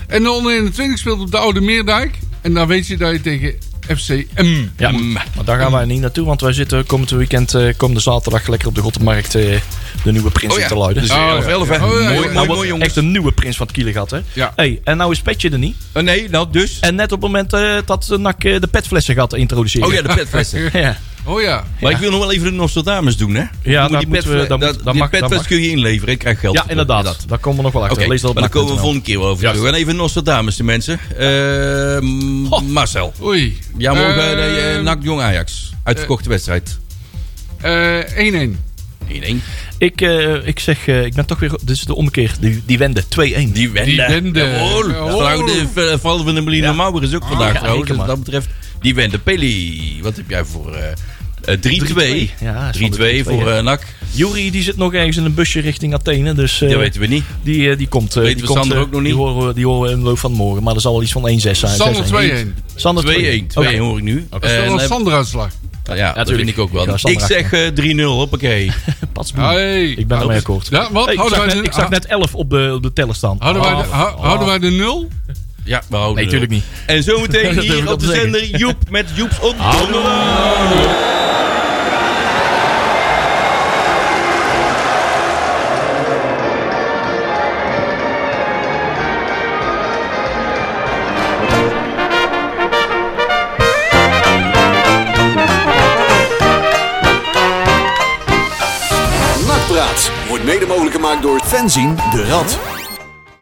Speaker 2: En de onder 21 speelt op de Oude Meerdijk. En dan weet je dat je tegen FCM.
Speaker 4: Ja, maar daar gaan wij niet naartoe, want wij zitten komend weekend, eh, komende zaterdag, lekker op de Rottenmarkt eh, de nieuwe prins
Speaker 3: Oh
Speaker 4: in
Speaker 3: ja.
Speaker 4: te luiden.
Speaker 3: Dus
Speaker 4: Nou,
Speaker 2: ja.
Speaker 3: 11, 11, hè?
Speaker 2: Oh, ja, ja, ja.
Speaker 3: Mooi, mooi,
Speaker 4: wat
Speaker 3: mooi, jongens.
Speaker 4: echt een nieuwe prins van het Kielen gehad, hè?
Speaker 2: Ja.
Speaker 4: Hey, en nou is Petje er niet.
Speaker 3: Oh, nee, nou dus.
Speaker 4: En net op het moment eh, dat de NAC eh, de petflessen gaat introduceren.
Speaker 3: Oh ja, de petvesten.
Speaker 4: ja.
Speaker 2: Oh ja.
Speaker 3: Maar ik wil nog wel even de Nostradamus doen, hè?
Speaker 4: Ja,
Speaker 3: Moet
Speaker 4: dat
Speaker 3: die
Speaker 4: moeten we- dat moet-
Speaker 3: petfle- dat,
Speaker 4: dat
Speaker 3: die
Speaker 4: mag- dat
Speaker 3: petfles
Speaker 4: mag.
Speaker 3: kun je inleveren. Ik krijg geld.
Speaker 4: ja,
Speaker 3: ervoor.
Speaker 4: inderdaad.
Speaker 3: Inderdaad.
Speaker 4: Daar komen we nog wel achter.
Speaker 3: Oké,
Speaker 4: Lees dat op
Speaker 3: maar daar komen we
Speaker 4: NAC.nl.
Speaker 3: volgende keer wel over.
Speaker 4: Ja.
Speaker 3: terug. We gaan even Nostradamus, de mensen. Eh, Marcel.
Speaker 2: Oei.
Speaker 3: Ja, morgen
Speaker 2: Eh,
Speaker 3: de eh, NAC Jong Ajax. Uitverkochte wedstrijd.
Speaker 2: eh, 1-1.
Speaker 3: 1-1.
Speaker 4: Ik, eh, ik zeg, eh, ik ben toch weer. Dit is de ommekeer. Die, die wende 2-1.
Speaker 3: Die wende.
Speaker 2: Die wende. Oh.
Speaker 3: Jawohl.
Speaker 2: Jawohl.
Speaker 3: Nou, de eh, val van de Melina Mauer is ook vandaag
Speaker 4: Ah, ja,
Speaker 3: trouwens.
Speaker 4: zeker, man.
Speaker 3: Dus wat dat betreft. Die wende. Peli. Wat heb jij voor... eh, eh, 3-2.
Speaker 4: 3-2. Ja, is wel
Speaker 3: 3-2
Speaker 4: de 3-2,
Speaker 3: voor
Speaker 4: ja.
Speaker 3: eh, NAC.
Speaker 4: Jury die zit nog ergens in een busje richting Athene. Dus eh,
Speaker 3: Dat weten we niet.
Speaker 4: die, eh, die komt. eh,
Speaker 3: Weten
Speaker 4: die
Speaker 3: we
Speaker 4: komt,
Speaker 3: Sander
Speaker 4: eh,
Speaker 3: ook nog niet?
Speaker 4: Die horen, we- die horen we in de loop van morgen. Maar dat zal wel iets van 1-6 zijn.
Speaker 2: Sander
Speaker 4: 6-1.
Speaker 2: 2-1.
Speaker 4: Sander
Speaker 3: 2-1. 2-1
Speaker 4: Oké.
Speaker 3: hoor ik nu.
Speaker 2: Dat is
Speaker 3: En,
Speaker 2: wel een
Speaker 3: eh,
Speaker 2: Sander-uitslag.
Speaker 3: ja, dat
Speaker 4: tuurlijk.
Speaker 3: vind ik ook wel.
Speaker 4: Ja,
Speaker 3: ik
Speaker 4: Sander
Speaker 3: zeg eh, 3-0. Hoppakee.
Speaker 4: Patsboem.
Speaker 2: Hey.
Speaker 4: Hm. Ik ben ermee akkoord.
Speaker 2: Ja, wat?
Speaker 4: Hey, ik,
Speaker 2: Houden
Speaker 4: zag
Speaker 2: wij
Speaker 4: net, ik zag
Speaker 2: de-
Speaker 4: net 11 op de, op de teller staan.
Speaker 3: Oh.
Speaker 2: houden wij de-
Speaker 4: Ah,
Speaker 2: hou- houden wij de 0?
Speaker 3: Ja, we houden
Speaker 4: Nee,
Speaker 3: het
Speaker 4: tuurlijk
Speaker 3: wel.
Speaker 4: niet.
Speaker 3: En
Speaker 4: Dat
Speaker 3: zometeen
Speaker 4: durf ik
Speaker 3: hier
Speaker 4: wel
Speaker 3: op de
Speaker 4: te zeggen.
Speaker 3: zender Joep met Joeps on Donderdag.
Speaker 1: Nakpraat wordt mede mogelijk gemaakt door Fenzin de Rad.